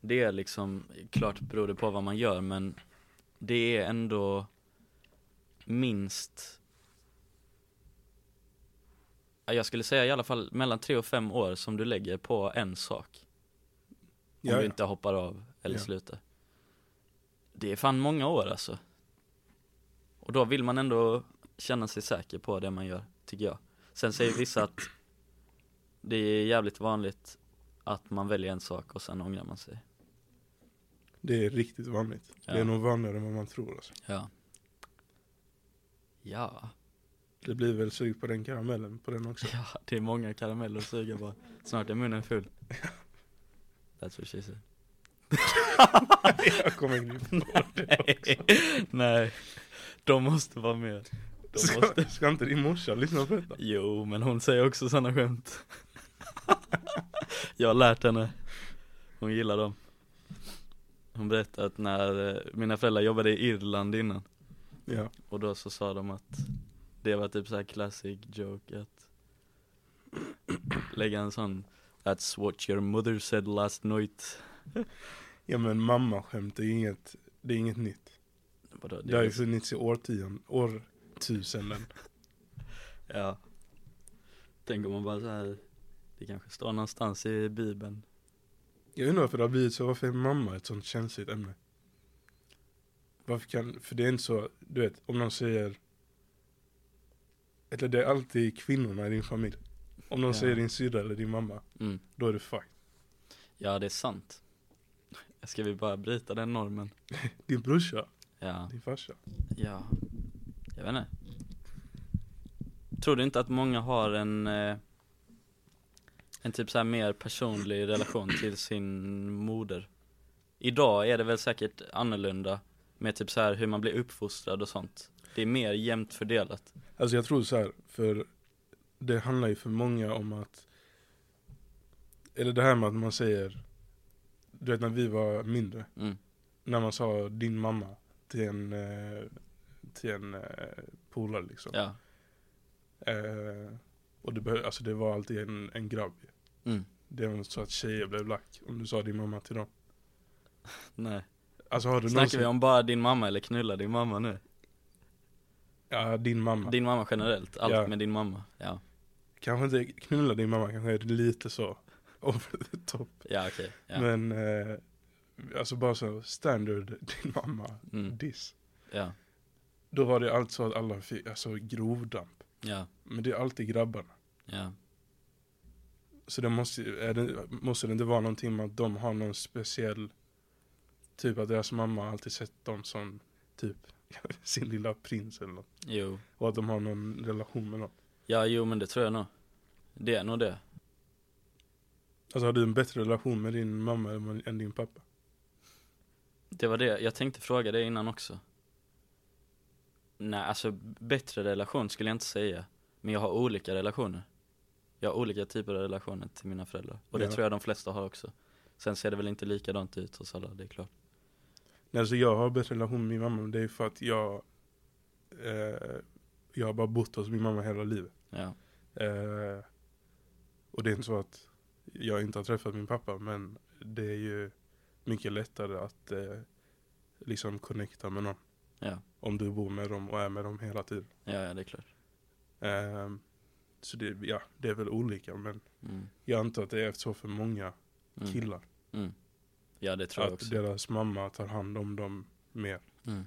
Speaker 2: det är liksom, klart beror det på vad man gör men det är ändå minst, Ja, jag skulle säga i alla fall mellan tre och fem år som du lägger på en sak. Om
Speaker 1: Ja,
Speaker 2: du
Speaker 1: ja.
Speaker 2: inte hoppar av eller
Speaker 1: Ja.
Speaker 2: slutar. Det är fan många år alltså. Och då vill man ändå känna sig säker på det man gör, tycker jag. Sen säger vissa att det är jävligt vanligt att man väljer en sak och sen ångrar man sig.
Speaker 1: Det är riktigt vanligt.
Speaker 2: Ja.
Speaker 1: Det är nog vanligare än vad man tror. Alltså.
Speaker 2: Ja. Ja,
Speaker 1: Det blir väl sug på den karamellen på den också.
Speaker 2: ja det är många karameller att suga på. Snart är munnen full. That's what she said.
Speaker 1: jag kommer inte på det.
Speaker 2: Nej. Nej, de måste vara med. De måste.
Speaker 1: Ska, ska inte din morsa lyssna på detta?
Speaker 2: Jo, men hon säger också sådana skämt. Jag har lärt henne. Hon gillar dem. Hon berättade att när eh, mina föräldrar jobbade i Irland innan
Speaker 1: Ja.
Speaker 2: och då så sa de att det var typ så här classic joke att lägga en sån That's what your mother said last night.
Speaker 1: ja men mammaskämt det är inget, det är inget nytt.
Speaker 2: Vadå,
Speaker 1: Det har ju funnits i årtion, årtusenden.
Speaker 2: Ja Tänk om man bara så här. Det kanske står någonstans i bibeln
Speaker 1: Jag undrar varför det har blivit så, varför är mamma ett sånt känsligt ämne? Varför kan, för det är inte så, du vet, om någon säger Eller det är alltid kvinnorna i din familj Om någon
Speaker 2: Ja.
Speaker 1: säger din syrra eller din mamma,
Speaker 2: mm.
Speaker 1: då är det fuck
Speaker 2: Ja det är sant Ska vi bara bryta den normen?
Speaker 1: Din brorsa,
Speaker 2: Ja
Speaker 1: din farsa
Speaker 2: Ja Jag vet inte Tror du inte att många har en eh, En typ så här mer personlig relation till sin moder? Idag är det väl säkert annorlunda Med typ så här hur man blir uppfostrad och sånt Det är mer jämnt fördelat
Speaker 1: Alltså jag tror så här, för det handlar ju för många om att Eller det här med att man säger Du vet när vi var mindre
Speaker 2: mm.
Speaker 1: när man sa din mamma till en, eh, till en eh, polare liksom.
Speaker 2: Ja,
Speaker 1: Eh, och det, behö- alltså, det var alltid en, en grabb. ju.
Speaker 2: mm.
Speaker 1: Det var så att tjejer blev lack om du sa din mamma till dem.
Speaker 2: nej
Speaker 1: Alltså har du
Speaker 2: Snackar vi om bara din mamma eller knulla din mamma nu?
Speaker 1: Ja, din mamma.
Speaker 2: Din mamma generellt, allt
Speaker 1: Mm. Ja.
Speaker 2: med din mamma, ja
Speaker 1: Kanske inte knulla din mamma, kanske är det lite så over the top.
Speaker 2: Ja okej, ja.
Speaker 1: Men eh, alltså bara så standard din mamma
Speaker 2: Mm.
Speaker 1: diss.
Speaker 2: ja,
Speaker 1: Då var det alltså att alla fick alltså, grovdamp.
Speaker 2: ja,
Speaker 1: Men det är alltid grabbarna.
Speaker 2: ja,
Speaker 1: Så det måste, ju- är det, måste det inte vara någonting med att de har någon speciell Typ att deras mamma har alltid sett dem som typ sin lilla prins eller något.
Speaker 2: jo
Speaker 1: Och att de har någon relation med någon.
Speaker 2: Ja jo men det tror jag nog Det är nog det
Speaker 1: Alltså har du en bättre relation med din mamma än med- än din pappa?
Speaker 2: Det var det, jag tänkte fråga det innan också Nej alltså bättre relation skulle jag inte säga Men jag har olika relationer Jag har olika typer av relationer till mina föräldrar Och det
Speaker 1: Ja.
Speaker 2: tror jag de flesta har också Sen ser det väl inte likadant ut hos alla, det är klart
Speaker 1: Nej, alltså jag har bättre relation med min mamma men det är för att jag eh, Jag har bara bott hos min mamma hela livet.
Speaker 2: Ja,
Speaker 1: Eh, och det är inte så att jag inte har träffat min pappa men det är ju mycket lättare att eh, liksom connecta med någon.
Speaker 2: Ja.
Speaker 1: Om du bor med dem och är med dem hela tiden.
Speaker 2: ja, ja det är klart
Speaker 1: Eh, så det, ja, det är väl olika men
Speaker 2: mm.
Speaker 1: jag antar att det är så för många
Speaker 2: Mm.
Speaker 1: killar.
Speaker 2: Mm. Ja det tror jag
Speaker 1: att
Speaker 2: också
Speaker 1: deras mamma tar hand om dem mer.
Speaker 2: mm.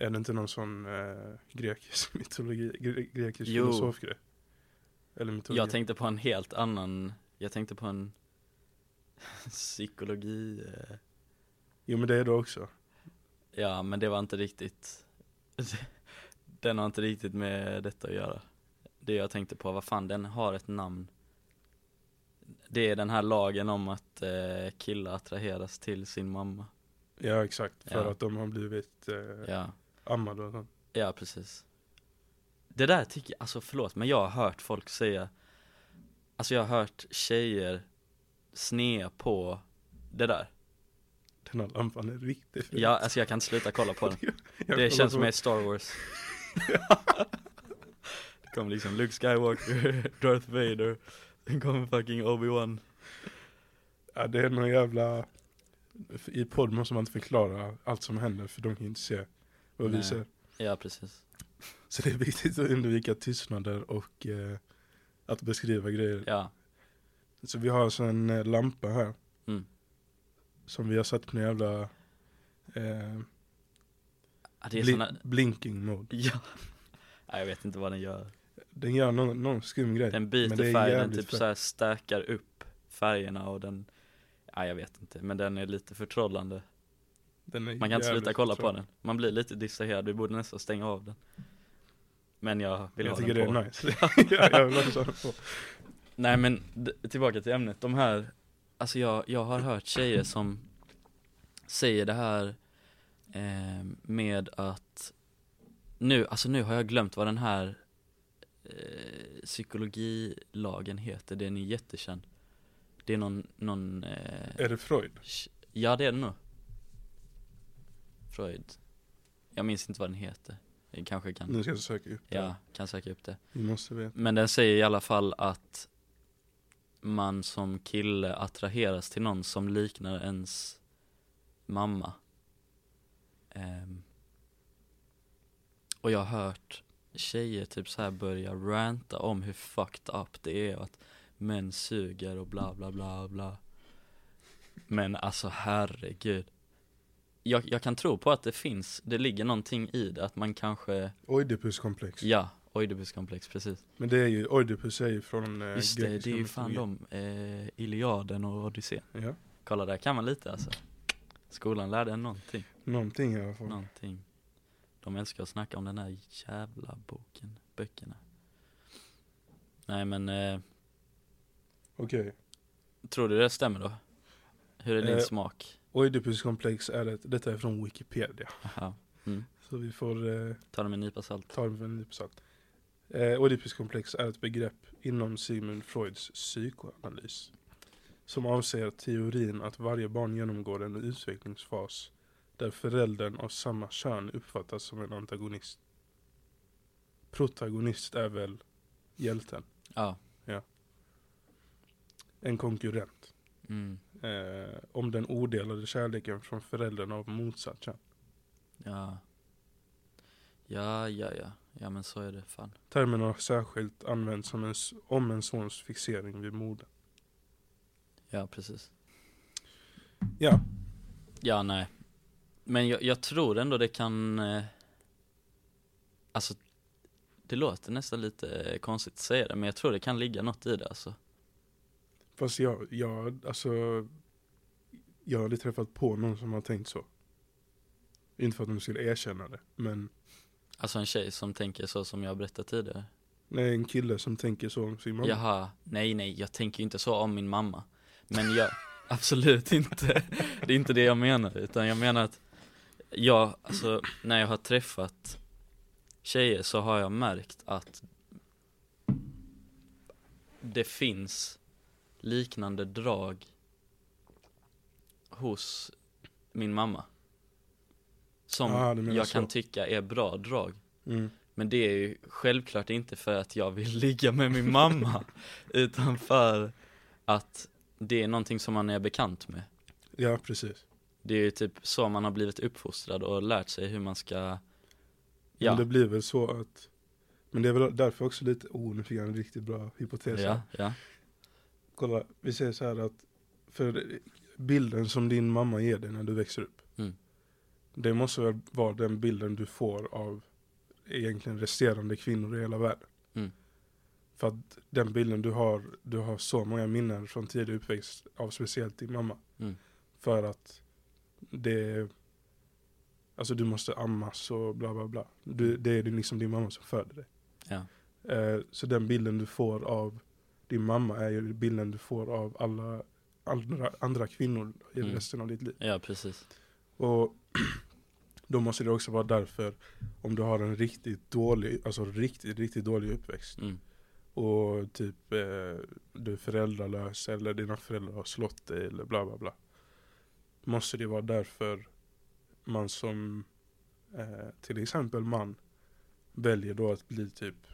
Speaker 1: Är det inte någon sån eh, grekisk mytologi, gre- grekisk
Speaker 2: Jo.
Speaker 1: filosofgrej? Eller mytologi?
Speaker 2: Jag tänkte på en helt annan Jag tänkte på en psykologi eh,
Speaker 1: jo men det är det också.
Speaker 2: Ja men det var inte riktigt Den har inte riktigt med detta att göra Det jag tänkte på, vad fan den har ett namn Det är den här lagen om att eh, killar attraheras till sin mamma
Speaker 1: Ja exakt, för
Speaker 2: Ja.
Speaker 1: att de har blivit eh,
Speaker 2: Ja,
Speaker 1: ammade och sånt.
Speaker 2: ja precis Det där tycker jag, alltså förlåt men jag har hört folk säga Alltså jag har hört tjejer snea på det där
Speaker 1: Den här lampan är riktigt fet.
Speaker 2: Ja, alltså jag kan inte sluta kolla på den.
Speaker 1: Jag
Speaker 2: Det
Speaker 1: kollar
Speaker 2: känns
Speaker 1: på-
Speaker 2: som jag är Star Wars. Det kommer liksom Luke Skywalker, Darth Vader, sen kommer fucking Obi-Wan.
Speaker 1: Ja, det är någon jävla... I podd måste man inte förklara allt som händer för de kan inte se vad vi
Speaker 2: Nej.
Speaker 1: ser.
Speaker 2: Ja, precis.
Speaker 1: Så det är viktigt att undvika tystnader och eh, att beskriva grejer.
Speaker 2: Ja,
Speaker 1: Så vi har alltså en eh, lampa här.
Speaker 2: Mm.
Speaker 1: Som vi har satt på en jävla... Eh,
Speaker 2: Ah, det är
Speaker 1: bli-
Speaker 2: såna...
Speaker 1: Blinking mode.
Speaker 2: Ja. Nej, jag vet inte vad den gör.
Speaker 1: Den gör någon, någon skum grej.
Speaker 2: Den
Speaker 1: men det
Speaker 2: byter
Speaker 1: är
Speaker 2: färg, den
Speaker 1: jävligt
Speaker 2: typ
Speaker 1: fett.
Speaker 2: såhär stärker upp färgerna och den Nej jag vet inte, men den är lite förtrollande
Speaker 1: Den är
Speaker 2: Man kan inte
Speaker 1: jävligt
Speaker 2: sluta kolla
Speaker 1: bra.
Speaker 2: på den Man blir lite distraherad, vi borde nästan stänga av den Men jag vill
Speaker 1: Jag
Speaker 2: ha
Speaker 1: tycker det
Speaker 2: den på
Speaker 1: är nice. ja, jag vill också ha den på.
Speaker 2: Nej men d- tillbaka till ämnet, de här alltså jag, jag har hört tjejer som säger det här eh, med att nu, alltså nu har jag glömt vad den här eh, psykologilagen heter, den är jättekänd. Det är någon, någon eh,
Speaker 1: Är det Freud?
Speaker 2: Sh- Ja det är det nog Freud Jag minns inte vad den heter Jag kanske kan,
Speaker 1: Nu ska jag söka upp det.
Speaker 2: ja, kan söka upp det
Speaker 1: Vi måste veta.
Speaker 2: Men den säger i alla fall att man som kille attraheras till någon som liknar ens mamma Ehm. Och jag har hört tjejer typ så här börja ranta om hur fucked up det är och att män suger och bla bla bla bla Men alltså herregud jag, jag kan tro på att det finns, det ligger någonting i det, att man kanske,
Speaker 1: Oidipuskomplex.
Speaker 2: ja, ojdebuskomplex precis
Speaker 1: Men det är ju, Oidipus är ju från eh,
Speaker 2: Just det,
Speaker 1: grekisk
Speaker 2: det är ju fan
Speaker 1: mytologi.
Speaker 2: de, eh, Iliaden och Odysseen
Speaker 1: Ja,
Speaker 2: Kolla där kan man lite alltså Skolan lärde en någonting,
Speaker 1: någonting i alla fall.
Speaker 2: någonting De älskar att snacka om den här jävla boken, böckerna Nej men, eh,
Speaker 1: Okej.
Speaker 2: tror du det stämmer då? Hur är din
Speaker 1: Eh.
Speaker 2: smak?
Speaker 1: Oidipuskomplex är ett, detta är från Wikipedia.
Speaker 2: Aha. Mm.
Speaker 1: Så vi får eh,
Speaker 2: Ta det med en nypa salt
Speaker 1: ta det med en nypa salt. Eh, Oedipuskomplex är ett begrepp inom Sigmund Freuds psykoanalys. Som avser teorin att varje barn genomgår en utvecklingsfas där föräldern av samma kön uppfattas som en antagonist. Protagonist är väl hjälten,
Speaker 2: Ja,
Speaker 1: en konkurrent.
Speaker 2: mm.
Speaker 1: Eh, om den odelade kärleken från föräldern av motsatt kön.
Speaker 2: ja Ja, ja, ja, ja men så är det fan
Speaker 1: Termen har särskilt använts som en, s- om en sons fixering vid modern.
Speaker 2: Ja precis
Speaker 1: Ja,
Speaker 2: Ja, nej. Men jag, jag tror ändå det kan, eh, alltså det låter nästan lite eh, konstigt att säga det, men jag tror det kan ligga något i det alltså.
Speaker 1: Fast jag, jag, alltså Jag har aldrig träffat på någon som har tänkt så Inte för att de skulle erkänna det Men
Speaker 2: Alltså en tjej som tänker så som jag berättade tidigare.
Speaker 1: Nej en kille som tänker så om sin mamma
Speaker 2: Jaha, nej nej, jag tänker ju inte så om min mamma. Men jag, absolut inte. Det är inte det jag menar, utan jag menar att jag, alltså när jag har träffat tjejer så har jag märkt att det finns liknande drag hos min mamma. Som
Speaker 1: Ah, du menar
Speaker 2: jag
Speaker 1: så.
Speaker 2: kan tycka är bra drag.
Speaker 1: mm.
Speaker 2: Men det är ju självklart inte för att jag vill ligga med min mamma Utan för att det är någonting som man är bekant med
Speaker 1: Ja precis
Speaker 2: Det är ju typ så man har blivit uppfostrad och lärt sig hur man ska Ja,
Speaker 1: Men det blir väl så att Men det är väl därför också lite Oh nu fick jag en riktigt bra hypotes här.
Speaker 2: ja, ja,
Speaker 1: Kolla, vi säger så här att För bilden som din mamma ger dig när du växer upp
Speaker 2: Mm.
Speaker 1: Det måste väl vara den bilden du får av egentligen resterande kvinnor i hela världen.
Speaker 2: Mm.
Speaker 1: För att den bilden du har, du har så många minnen från tidig uppväxt av speciellt din mamma.
Speaker 2: Mm.
Speaker 1: För att det Alltså du måste ammas och bla bla bla.
Speaker 2: Mm.
Speaker 1: Du, det är liksom din mamma som föder dig.
Speaker 2: ja,
Speaker 1: Eh, så den bilden du får av din mamma är ju bilden du får av alla andra, andra kvinnor i
Speaker 2: Mm.
Speaker 1: resten av ditt liv.
Speaker 2: ja precis
Speaker 1: Och då måste det också vara därför om du har en riktigt dålig, alltså riktigt, riktigt dålig uppväxt
Speaker 2: mm.
Speaker 1: och typ eh, du är föräldralös eller dina föräldrar har slått dig eller bla bla bla. Måste det vara därför man som eh, till exempel man väljer då att bli typ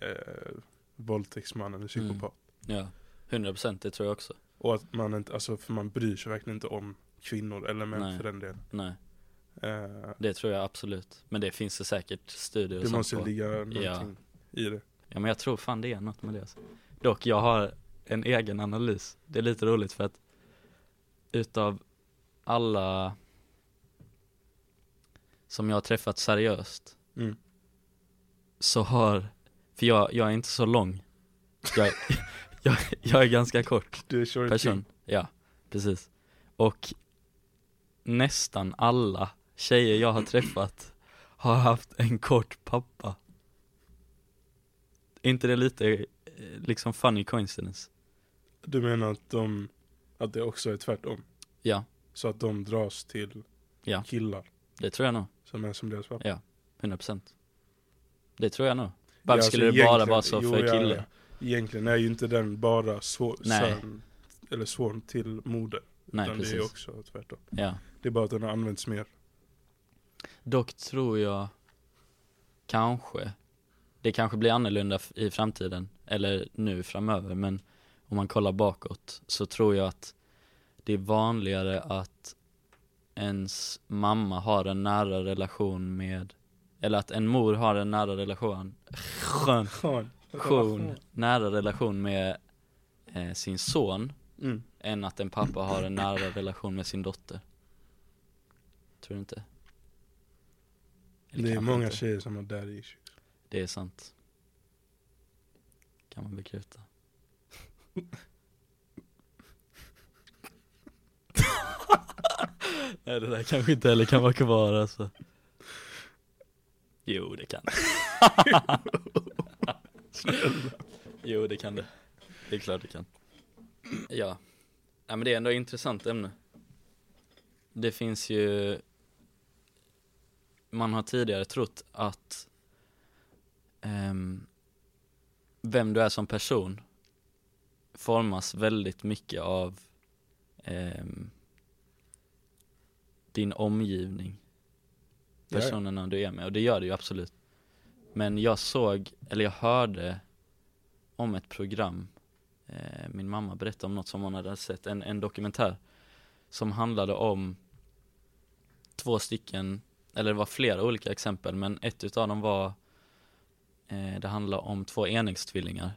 Speaker 1: eh, våldtäktsman eller
Speaker 2: Mm.
Speaker 1: psykopat.
Speaker 2: Ja, 100% det tror jag också
Speaker 1: Och att man inte, alltså för man bryr sig verkligen inte om kvinnor eller män
Speaker 2: Nej.
Speaker 1: för den delen.
Speaker 2: Nej,
Speaker 1: Eh,
Speaker 2: det tror jag absolut Men det finns det säkert studier och
Speaker 1: Det
Speaker 2: sånt
Speaker 1: måste
Speaker 2: på
Speaker 1: ligga någonting i det.
Speaker 2: Ja men jag tror fan det är något med det alltså. Dock, jag har en egen analys. Det är lite roligt för att utav alla som jag har träffat seriöst
Speaker 1: Mm.
Speaker 2: så har, för jag, jag är inte så lång. Jag, jag, jag är ganska kort
Speaker 1: Du är short
Speaker 2: person. Ja, precis. Och nästan alla tjejer jag har träffat har haft en kort pappa. Är inte det lite eh, liksom funny coincidence?
Speaker 1: Du menar att de Att det också är tvärtom.
Speaker 2: Ja,
Speaker 1: Så att de dras till
Speaker 2: Ja.
Speaker 1: killar
Speaker 2: det tror jag nog.
Speaker 1: som är som deras pappa.
Speaker 2: 100%. Det tror jag nog. Varför
Speaker 1: Ja,
Speaker 2: skulle
Speaker 1: alltså
Speaker 2: det bara
Speaker 1: egentligen-
Speaker 2: vara så
Speaker 1: jo,
Speaker 2: för
Speaker 1: ja,
Speaker 2: kille?
Speaker 1: ja. Egentligen är ju inte den bara så,
Speaker 2: Nej.
Speaker 1: son, eller son till moder.
Speaker 2: Nej,
Speaker 1: utan
Speaker 2: precis.
Speaker 1: det är också tvärtom.
Speaker 2: Ja.
Speaker 1: Det är bara att den har använts mer.
Speaker 2: Dock tror jag kanske det kanske blir annorlunda f- i framtiden eller nu framöver men om man kollar bakåt så tror jag att det är vanligare att ens mamma har en nära relation med eller att en mor har en nära relation skön,
Speaker 1: Skön.
Speaker 2: relation, nära relation med eh, sin son
Speaker 1: Mm.
Speaker 2: än att en pappa har en nära relation med sin dotter. Tror du inte? Eller
Speaker 1: Det är
Speaker 2: kanske
Speaker 1: många
Speaker 2: inte.
Speaker 1: tjejer som har daddy issues.
Speaker 2: Det är sant. Kan man bekräfta. Nej det där kanske inte heller kan vara kvar alltså. Jo det kan det. Jo det kan det. Det är klart det kan. Ja. Nej men det är ändå ett intressant ämne. Det finns ju Man har tidigare trott att ehm, vem du är som person formas väldigt mycket av ehm, din omgivning,
Speaker 1: Ja, ja.
Speaker 2: personerna du är med och det gör det ju absolut. Men jag såg, eller jag hörde om ett program, eh, min mamma berättade om något som hon hade sett, en, en dokumentär som handlade om två stycken, eller det var flera olika exempel men ett utav dem var Eh, Det handlar om två enäggstvillingar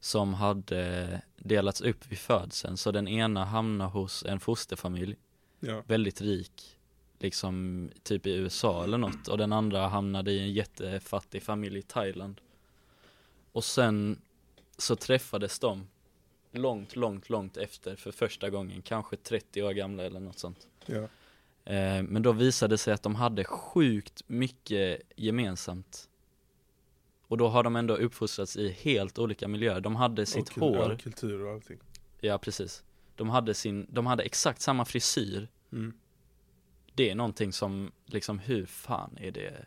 Speaker 2: som hade eh, delats upp vid födseln. Så den ena hamnade hos en fosterfamilj,
Speaker 1: Ja.
Speaker 2: väldigt rik, liksom typ i USA eller något. Och den andra hamnade i en jättefattig familj i Thailand. Och sen så träffades de långt, långt, långt efter för första gången, kanske 30 år gamla eller något sånt.
Speaker 1: Ja.
Speaker 2: Eh, Men då visade det sig att de hade sjukt mycket gemensamt. Och då har de ändå uppfostrats i helt olika miljöer. De hade sitt
Speaker 1: Och kul-
Speaker 2: hår,
Speaker 1: Ja, kultur och allting.
Speaker 2: ja precis. De hade, sin, de hade exakt samma frisyr.
Speaker 1: Mm.
Speaker 2: Det är någonting som, liksom hur fan är det,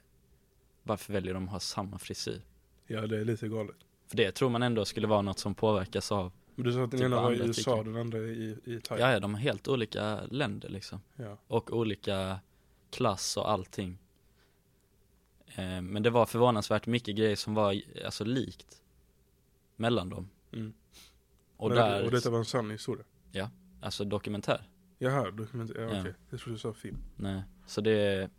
Speaker 2: varför väljer de att ha samma frisyr?
Speaker 1: Ja, det är lite galet.
Speaker 2: För det tror man ändå skulle vara något som påverkas av,
Speaker 1: Men du sa att den
Speaker 2: Typ
Speaker 1: ena var i
Speaker 2: andra
Speaker 1: USA,
Speaker 2: tycker.
Speaker 1: den andra i, i
Speaker 2: ja
Speaker 1: Thailand.
Speaker 2: ja, de har helt olika länder liksom.
Speaker 1: Ja.
Speaker 2: och olika klass och allting. Eh, Men det var förvånansvärt mycket grejer som var alltså likt mellan dem.
Speaker 1: Mm.
Speaker 2: Och
Speaker 1: Men-
Speaker 2: där,
Speaker 1: och detta var en sann historia.
Speaker 2: alltså dokumentär.
Speaker 1: Jaha, dokumentär. Ja,
Speaker 2: Ja.
Speaker 1: okej. Jag trodde du sa film.
Speaker 2: Nej, så det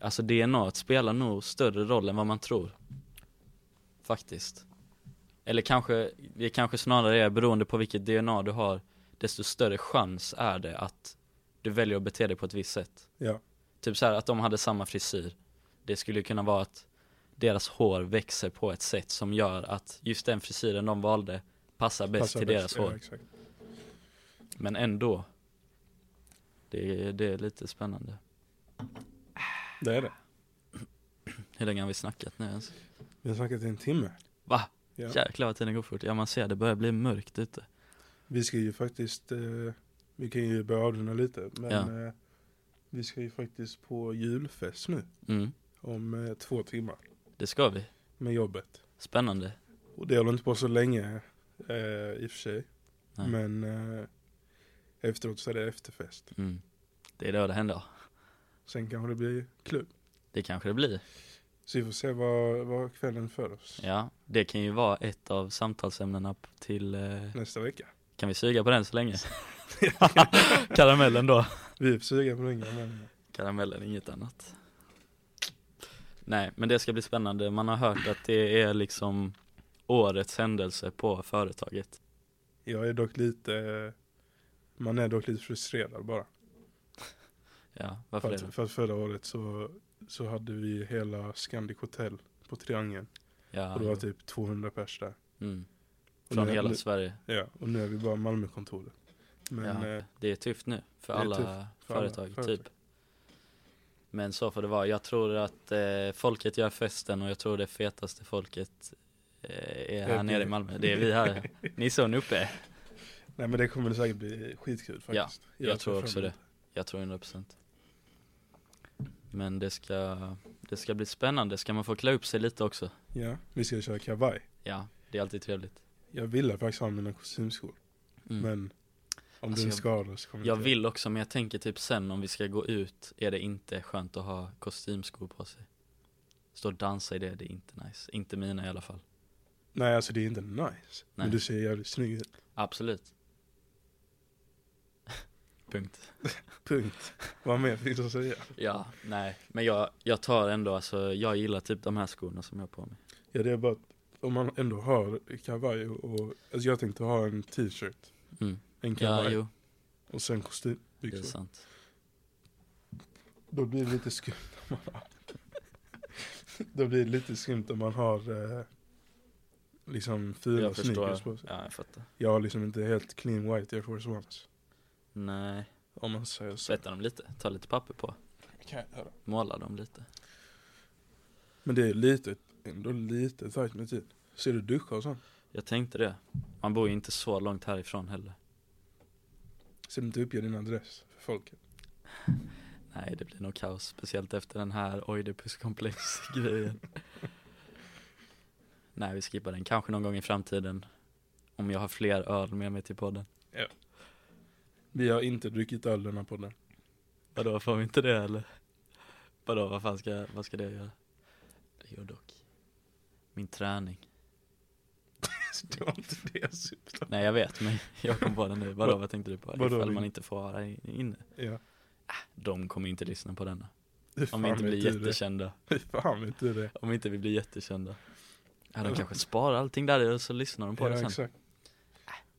Speaker 2: Alltså DNA t spelar nog större roll än vad man tror Faktiskt Eller kanske, det kanske snarare är beroende på vilket DNA du har Desto större chans är det att du väljer att bete dig på ett visst sätt
Speaker 1: Ja.
Speaker 2: Typ så här att de hade samma frisyr Det skulle kunna vara att deras hår växer på ett sätt som gör att just den frisyren de valde passar bäst
Speaker 1: Passar
Speaker 2: till deras hår
Speaker 1: Ja, exakt.
Speaker 2: Men ändå det, det är lite spännande
Speaker 1: Det är det.
Speaker 2: Hur länge har vi snackat nu ens?
Speaker 1: Vi har snackat i en timme.
Speaker 2: Va?
Speaker 1: Ja.
Speaker 2: Jäklar vad tiden går fort. Ja man ser det börjar bli mörkt ute.
Speaker 1: Vi ska ju faktiskt, eh, vi kan ju börja avrunda lite, men
Speaker 2: Ja.
Speaker 1: eh, vi ska ju faktiskt på julfest nu
Speaker 2: Mm,
Speaker 1: om eh, två timmar
Speaker 2: det ska vi.
Speaker 1: med jobbet.
Speaker 2: Spännande.
Speaker 1: Och det håller inte på så länge eh, i och för sig,
Speaker 2: Nej.
Speaker 1: men eh, efteråt så är det efterfest.
Speaker 2: Mm. Det är då det händer.
Speaker 1: Sen kanske det blir klubb.
Speaker 2: Det kanske det blir.
Speaker 1: Så vi får se vad, vad kvällen för oss
Speaker 2: Ja, det kan ju vara ett av samtalsämnena p- till... Eh,
Speaker 1: nästa vecka.
Speaker 2: kan vi suga på den så länge? Karamellen då.
Speaker 1: Vi är sugna på länge, men
Speaker 2: Karamellen, inget annat. Nej, men det ska bli spännande. Man har hört att det är liksom årets händelse på företaget.
Speaker 1: jag är dock lite, eh, man är dock lite frustrerad bara.
Speaker 2: Ja, varför
Speaker 1: För att,
Speaker 2: det? då?
Speaker 1: för att förra året så, så hade vi hela Scandic Hotel på Triangeln.
Speaker 2: Ja,
Speaker 1: och det var typ 200 pers där.
Speaker 2: mm.
Speaker 1: Och
Speaker 2: Ah. Från
Speaker 1: nu,
Speaker 2: hela
Speaker 1: nu,
Speaker 2: Sverige.
Speaker 1: Ja, och nu är vi bara Malmökontoret. Men
Speaker 2: ja,
Speaker 1: eh,
Speaker 2: det är tufft nu för
Speaker 1: det är
Speaker 2: alla
Speaker 1: tufft för alla
Speaker 2: företag,
Speaker 1: företag.
Speaker 2: typ. Men så får det vara. Jag tror att eh, folket gör festen och jag tror det fetaste folket eh, är här
Speaker 1: vi.
Speaker 2: nere i Malmö. Det är vi här. Ni är så uppe.
Speaker 1: Nej men det kommer det säkert bli skitkul faktiskt.
Speaker 2: jag tror också det. Jag tror 100% Men det ska, det ska bli spännande, ska man få klä upp sig lite också?
Speaker 1: Ja, vi ska köra kavaj.
Speaker 2: Ja, det är alltid trevligt
Speaker 1: Jag ville faktiskt ha mina kostymskor.
Speaker 2: mm.
Speaker 1: Men om
Speaker 2: Alltså,
Speaker 1: du är
Speaker 2: jag-
Speaker 1: skadad så kommer
Speaker 2: Jag
Speaker 1: inte
Speaker 2: vill också men jag tänker typ sen om vi ska gå ut är det inte skönt att ha kostymskor på sig Stå och dansa i det, det är inte nice, inte mina i alla fall
Speaker 1: Nej alltså det är inte nice. Men
Speaker 2: Nej.
Speaker 1: du ser jävligt snygg ut.
Speaker 2: Absolut Punkt
Speaker 1: Punkt. Vad mer finns att säga?
Speaker 2: Ja, nej, men jag, jag tar ändå alltså, jag gillar typ de här skorna som jag har på mig
Speaker 1: Ja det är bara att om man ändå har kavaj och, och alltså jag tänkte ha en t-shirt.
Speaker 2: mm.
Speaker 1: En
Speaker 2: Ja,
Speaker 1: kavaj
Speaker 2: jo,
Speaker 1: och sen liksom.
Speaker 2: det är
Speaker 1: kostymbyxor.
Speaker 2: sant
Speaker 1: Då blir det lite skumt om man har Då blir det lite skumt om man har eh, liksom fina
Speaker 2: Jag förstår,
Speaker 1: sneakers på sig.
Speaker 2: ja jag fattar
Speaker 1: Jag har liksom inte helt clean white Air Force Ones.
Speaker 2: Nej,
Speaker 1: Om man säger så.
Speaker 2: tvätta dem lite, ta lite papper på,
Speaker 1: Kan jag göra.
Speaker 2: måla dem lite
Speaker 1: Men det är lite, ändå lite tajt med tid. Ser du duscha och sånt?
Speaker 2: Jag tänkte det, man bor ju inte så långt härifrån heller
Speaker 1: Ser du inte uppge din adress för folket?
Speaker 2: Nej det blir nog kaos, speciellt efter den här Oidipus-komplex grejen Nej vi skippar den, kanske någon gång i framtiden Om jag har fler öl med mig till podden
Speaker 1: Vi har inte druckit öl den här podden.
Speaker 2: Vadå, får vi inte det eller? Vadå, vad fan ska, vad ska det göra? Jo dock Min träning
Speaker 1: det var inte det jag syftade
Speaker 2: Nej jag vet men jag kom på den nu, vadå vad tänkte du på?
Speaker 1: Vadå,
Speaker 2: Ifall
Speaker 1: min-
Speaker 2: man inte får vara in- inne
Speaker 1: Ja.
Speaker 2: De kommer inte lyssna på denna
Speaker 1: Hur
Speaker 2: Om vi inte
Speaker 1: vet
Speaker 2: blir
Speaker 1: du det?
Speaker 2: jättekända
Speaker 1: Hur fan vet du det?
Speaker 2: Om inte vi blir jättekända Ja de
Speaker 1: Ja.
Speaker 2: kanske sparar allting där och så lyssnar de på det
Speaker 1: Ja
Speaker 2: sen Äh.
Speaker 1: exakt.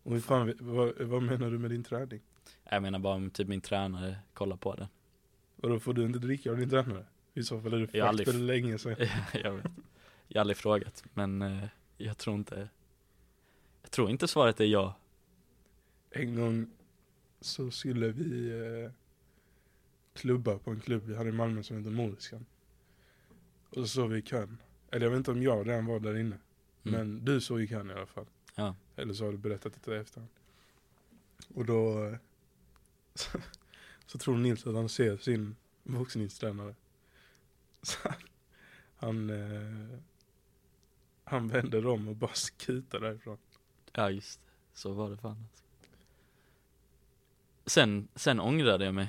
Speaker 1: Och hur fan, vet- vad, vad menar du med din träning?
Speaker 2: Jag menar bara om typ min tränare kollar på den
Speaker 1: Vadå får du inte dricka av din tränare? I så fall är det
Speaker 2: Jag har
Speaker 1: fucked för
Speaker 2: aldrig-
Speaker 1: länge sedan.
Speaker 2: Jag vet Jag har aldrig frågat men eh, jag tror inte Jag tror inte svaret är ja
Speaker 1: En gång så skulle vi eh, klubba på en klubb vi hade i Malmö som heter Moriskan. Och så såg vi i kön. Eller jag vet inte om jag redan var där inne.
Speaker 2: Mm.
Speaker 1: Men du såg i kön i alla fall.
Speaker 2: Ja.
Speaker 1: Eller så har du berättat det i efterhand. Och då eh, så, så tror Nils att han ser sin boxningstränare. Så han, han, eh, han vänder om och bara skutar därifrån.
Speaker 2: Ja just det, så var det fan alltså. Sen, sen ångrade jag mig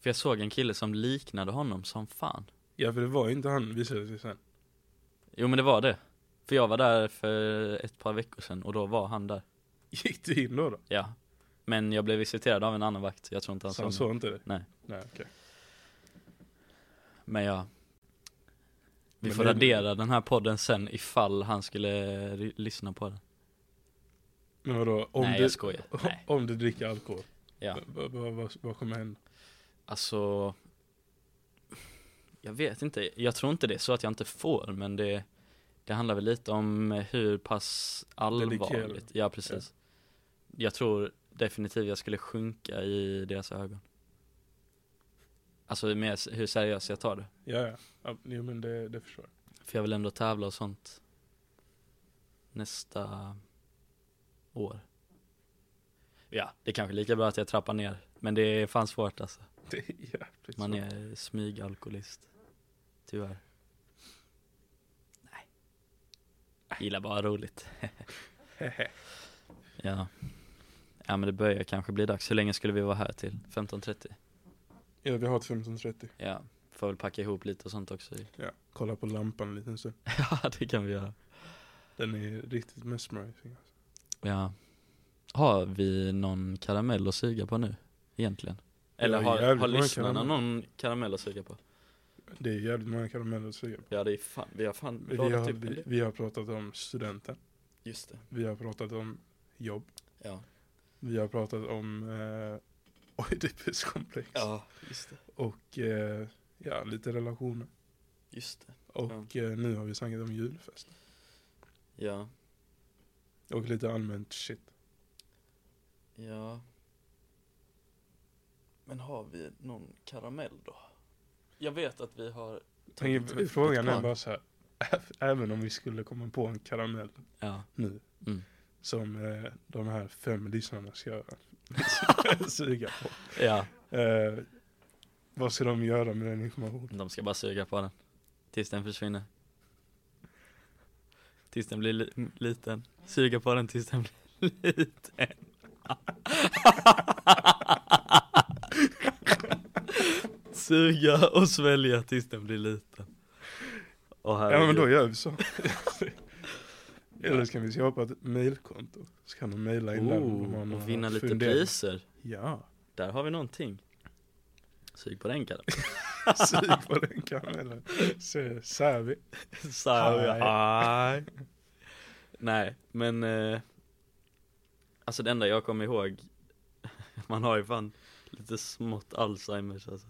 Speaker 2: För jag såg en kille som liknade honom som fan
Speaker 1: Ja för det var ju inte han visade sig sen.
Speaker 2: Jo men det var det För jag var där för ett par veckor sedan och då var han där
Speaker 1: Gick du in då? då?
Speaker 2: Ja Men jag blev visiterad av en annan vakt, jag tror inte han
Speaker 1: Så
Speaker 2: såg
Speaker 1: han
Speaker 2: mig
Speaker 1: såg inte det?
Speaker 2: Nej.
Speaker 1: Nej okej.
Speaker 2: Men ja Vi
Speaker 1: Men
Speaker 2: får
Speaker 1: det-
Speaker 2: radera den här podden sen ifall han skulle ry- lyssna på den
Speaker 1: Men vadå? Om,
Speaker 2: Nej
Speaker 1: du,
Speaker 2: jag skojar,
Speaker 1: o-
Speaker 2: nej
Speaker 1: om du dricker alkohol?
Speaker 2: Ja.
Speaker 1: Vad, vad, vad, vad kommer hända?
Speaker 2: Alltså Jag vet inte, jag tror inte det är så att jag inte får men det Det handlar väl lite om hur pass
Speaker 1: Dedikerad.
Speaker 2: allvarligt Ja precis Jag tror definitivt jag skulle sjunka i deras ögon Alltså med s- hur seriöst jag tar det
Speaker 1: Ja ja. ja jo, men det, det förstår jag.
Speaker 2: För jag vill ändå tävla och sånt Nästa år Ja, det är kanske lika bra att jag trappar ner Men det är fan svårt alltså
Speaker 1: Det är jävligt
Speaker 2: Man
Speaker 1: svårt.
Speaker 2: är smygalkoholist Tyvärr Nej Gillar bara roligt Ja Ja men det börjar kanske bli dags, hur länge skulle vi vara här till? 15.30?
Speaker 1: Ja vi har ett 15.30.
Speaker 2: Ja, får väl packa ihop lite och sånt också
Speaker 1: Ja. Kolla på lampan en liten stund.
Speaker 2: Ja det kan vi göra
Speaker 1: Den är riktigt mesmerizing. Alltså.
Speaker 2: Ja Har vi någon karamell att suga på nu? Egentligen? Eller
Speaker 1: Ja,
Speaker 2: har,
Speaker 1: jävligt
Speaker 2: har
Speaker 1: många
Speaker 2: lyssnarna
Speaker 1: karamell.
Speaker 2: någon karamell att suga på?
Speaker 1: Det är jävligt många karameller att suga på.
Speaker 2: Ja det är fan, vi har fan
Speaker 1: Vi
Speaker 2: radat
Speaker 1: har,
Speaker 2: upp en
Speaker 1: vi,
Speaker 2: del.
Speaker 1: vi har pratat om studenten.
Speaker 2: Just det,
Speaker 1: Vi har pratat om jobb.
Speaker 2: ja
Speaker 1: Vi har pratat om eh, Oidipuskomplex.
Speaker 2: Ja, just det,
Speaker 1: Och eh, ja, lite relationer.
Speaker 2: just det,
Speaker 1: Och eh, nu har vi snackat om julfest.
Speaker 2: ja
Speaker 1: Och lite allmänt shit.
Speaker 2: Ja Men har vi någon karamell då? Jag vet att vi har
Speaker 1: Tänk,
Speaker 2: tagit upp
Speaker 1: frågan
Speaker 2: ett
Speaker 1: är
Speaker 2: par.
Speaker 1: bara så här. Även om vi skulle komma på en karamell
Speaker 2: Ja,
Speaker 1: nu.
Speaker 2: Mm.
Speaker 1: som eh, de här fem lyssnarna ska göra. suga på.
Speaker 2: Ja,
Speaker 1: Eh, vad ska de göra med den informationen?
Speaker 2: de ska bara suga på den. Tills den försvinner. Tills den blir li-
Speaker 1: Mm.
Speaker 2: liten. Suga på den tills den blir liten. Suga och svälja tills den blir liten. Åh,
Speaker 1: Ja men
Speaker 2: herregud.
Speaker 1: då gör vi så. Eller ska vi skapa ett mailkonto? Så kan de mejla in där om de har
Speaker 2: Oh,
Speaker 1: några
Speaker 2: och vinna lite
Speaker 1: funderingar.
Speaker 2: priser.
Speaker 1: Ja,
Speaker 2: Där har vi någonting. Sug på den killen.
Speaker 1: sug på den karamellen. Så sär vi.
Speaker 2: Så här,
Speaker 1: Aj.
Speaker 2: aj. Nej, men eh, Alltså det enda jag kommer ihåg Man har ju fan lite smått Alzheimers alltså.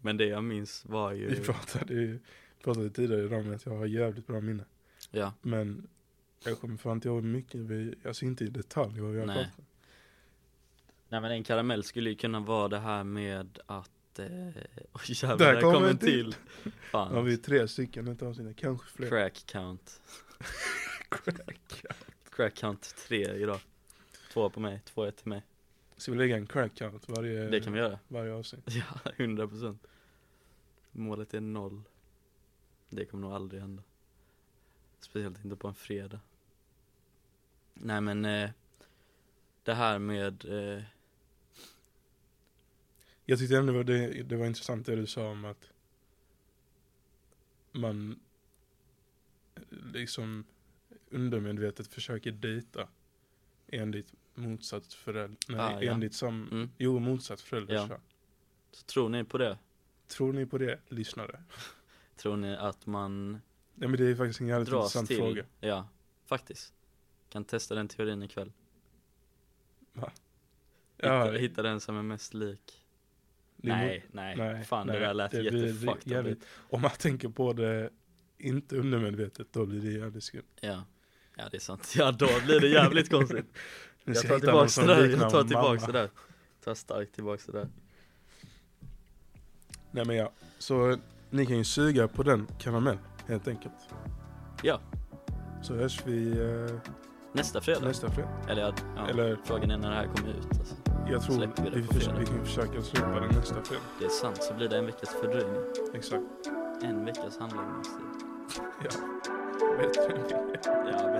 Speaker 2: Men det jag minns var
Speaker 1: Vi
Speaker 2: ju
Speaker 1: pratade, ju- pratade tidigare idag om att jag har jävligt bra minne.
Speaker 2: Ja,
Speaker 1: Men jag kommer fan inte ihåg mycket, vi, alltså inte i detalj vad vi har
Speaker 2: Nej.
Speaker 1: pratat om.
Speaker 2: nej men en karamell skulle ju kunna vara det här med att eh, Oj jävlar,
Speaker 1: Där
Speaker 2: där
Speaker 1: kom
Speaker 2: kom
Speaker 1: en
Speaker 2: en till!
Speaker 1: till. Nu har
Speaker 2: Fan,
Speaker 1: vi tre stycken utav sina, kanske fler.
Speaker 2: crack count Crack count 3 idag Två på mig, två till mig
Speaker 1: Ska vi lägga en crack count varje,
Speaker 2: Det kan vi göra
Speaker 1: varje avsnitt?
Speaker 2: Ja, 100 procent. Målet är noll. Det kommer nog aldrig hända. Speciellt inte på en fredag. Nej men, eh, det här med, eh,
Speaker 1: Jag tyckte ändå det, var- det, det var intressant det du sa om att man liksom undermedvetet försöker dejta enligt motsatt förälder, nej
Speaker 2: Ah, ja.
Speaker 1: enligt sam,
Speaker 2: Mm.
Speaker 1: jo motsatt förälder.
Speaker 2: Ja.
Speaker 1: så.
Speaker 2: så tror ni på det?
Speaker 1: Tror ni på det, lyssnare?
Speaker 2: Tror ni att man
Speaker 1: Nej men det är faktiskt en jävligt
Speaker 2: dras
Speaker 1: intressant
Speaker 2: till?
Speaker 1: fråga.
Speaker 2: Ja, faktiskt. Kan testa den teorin ikväll. Hitta,
Speaker 1: Ja,
Speaker 2: hitta den som är mest lik.
Speaker 1: det är
Speaker 2: nej, nej,
Speaker 1: nej,
Speaker 2: Fan
Speaker 1: nej,
Speaker 2: det där lät
Speaker 1: det blir
Speaker 2: jättefucked.
Speaker 1: jävligt- mo- Om man tänker på det inte undermedvetet, då blir det jävligt skumt.
Speaker 2: Ja. ja, det är sant. Ja, då blir det jävligt konstigt.
Speaker 1: Nu
Speaker 2: Jag
Speaker 1: ska
Speaker 2: tar
Speaker 1: hitta någon
Speaker 2: tillbaks
Speaker 1: som
Speaker 2: det där,
Speaker 1: liknar
Speaker 2: jag tar
Speaker 1: mamma.
Speaker 2: tillbaks det där Tar starkt tillbaks det där
Speaker 1: Nej men ja, så eh, ni kan ju suga på den karamell helt enkelt.
Speaker 2: Ja.
Speaker 1: Så hörs vi eh,
Speaker 2: Nästa fredag,
Speaker 1: nästa fredag.
Speaker 2: eller ja, ja.
Speaker 1: Eller
Speaker 2: frågan är när det här kommer ut alltså.
Speaker 1: jag tror
Speaker 2: Släpper vi det
Speaker 1: vi,
Speaker 2: på
Speaker 1: förs-
Speaker 2: fredag?
Speaker 1: vi kan ju försöka släppa den nästa fredag.
Speaker 2: Det är sant, så blir det en veckas fördröjning
Speaker 1: Exakt.
Speaker 2: En veckas handläggningstid
Speaker 1: Bättre än vi.
Speaker 2: Ja,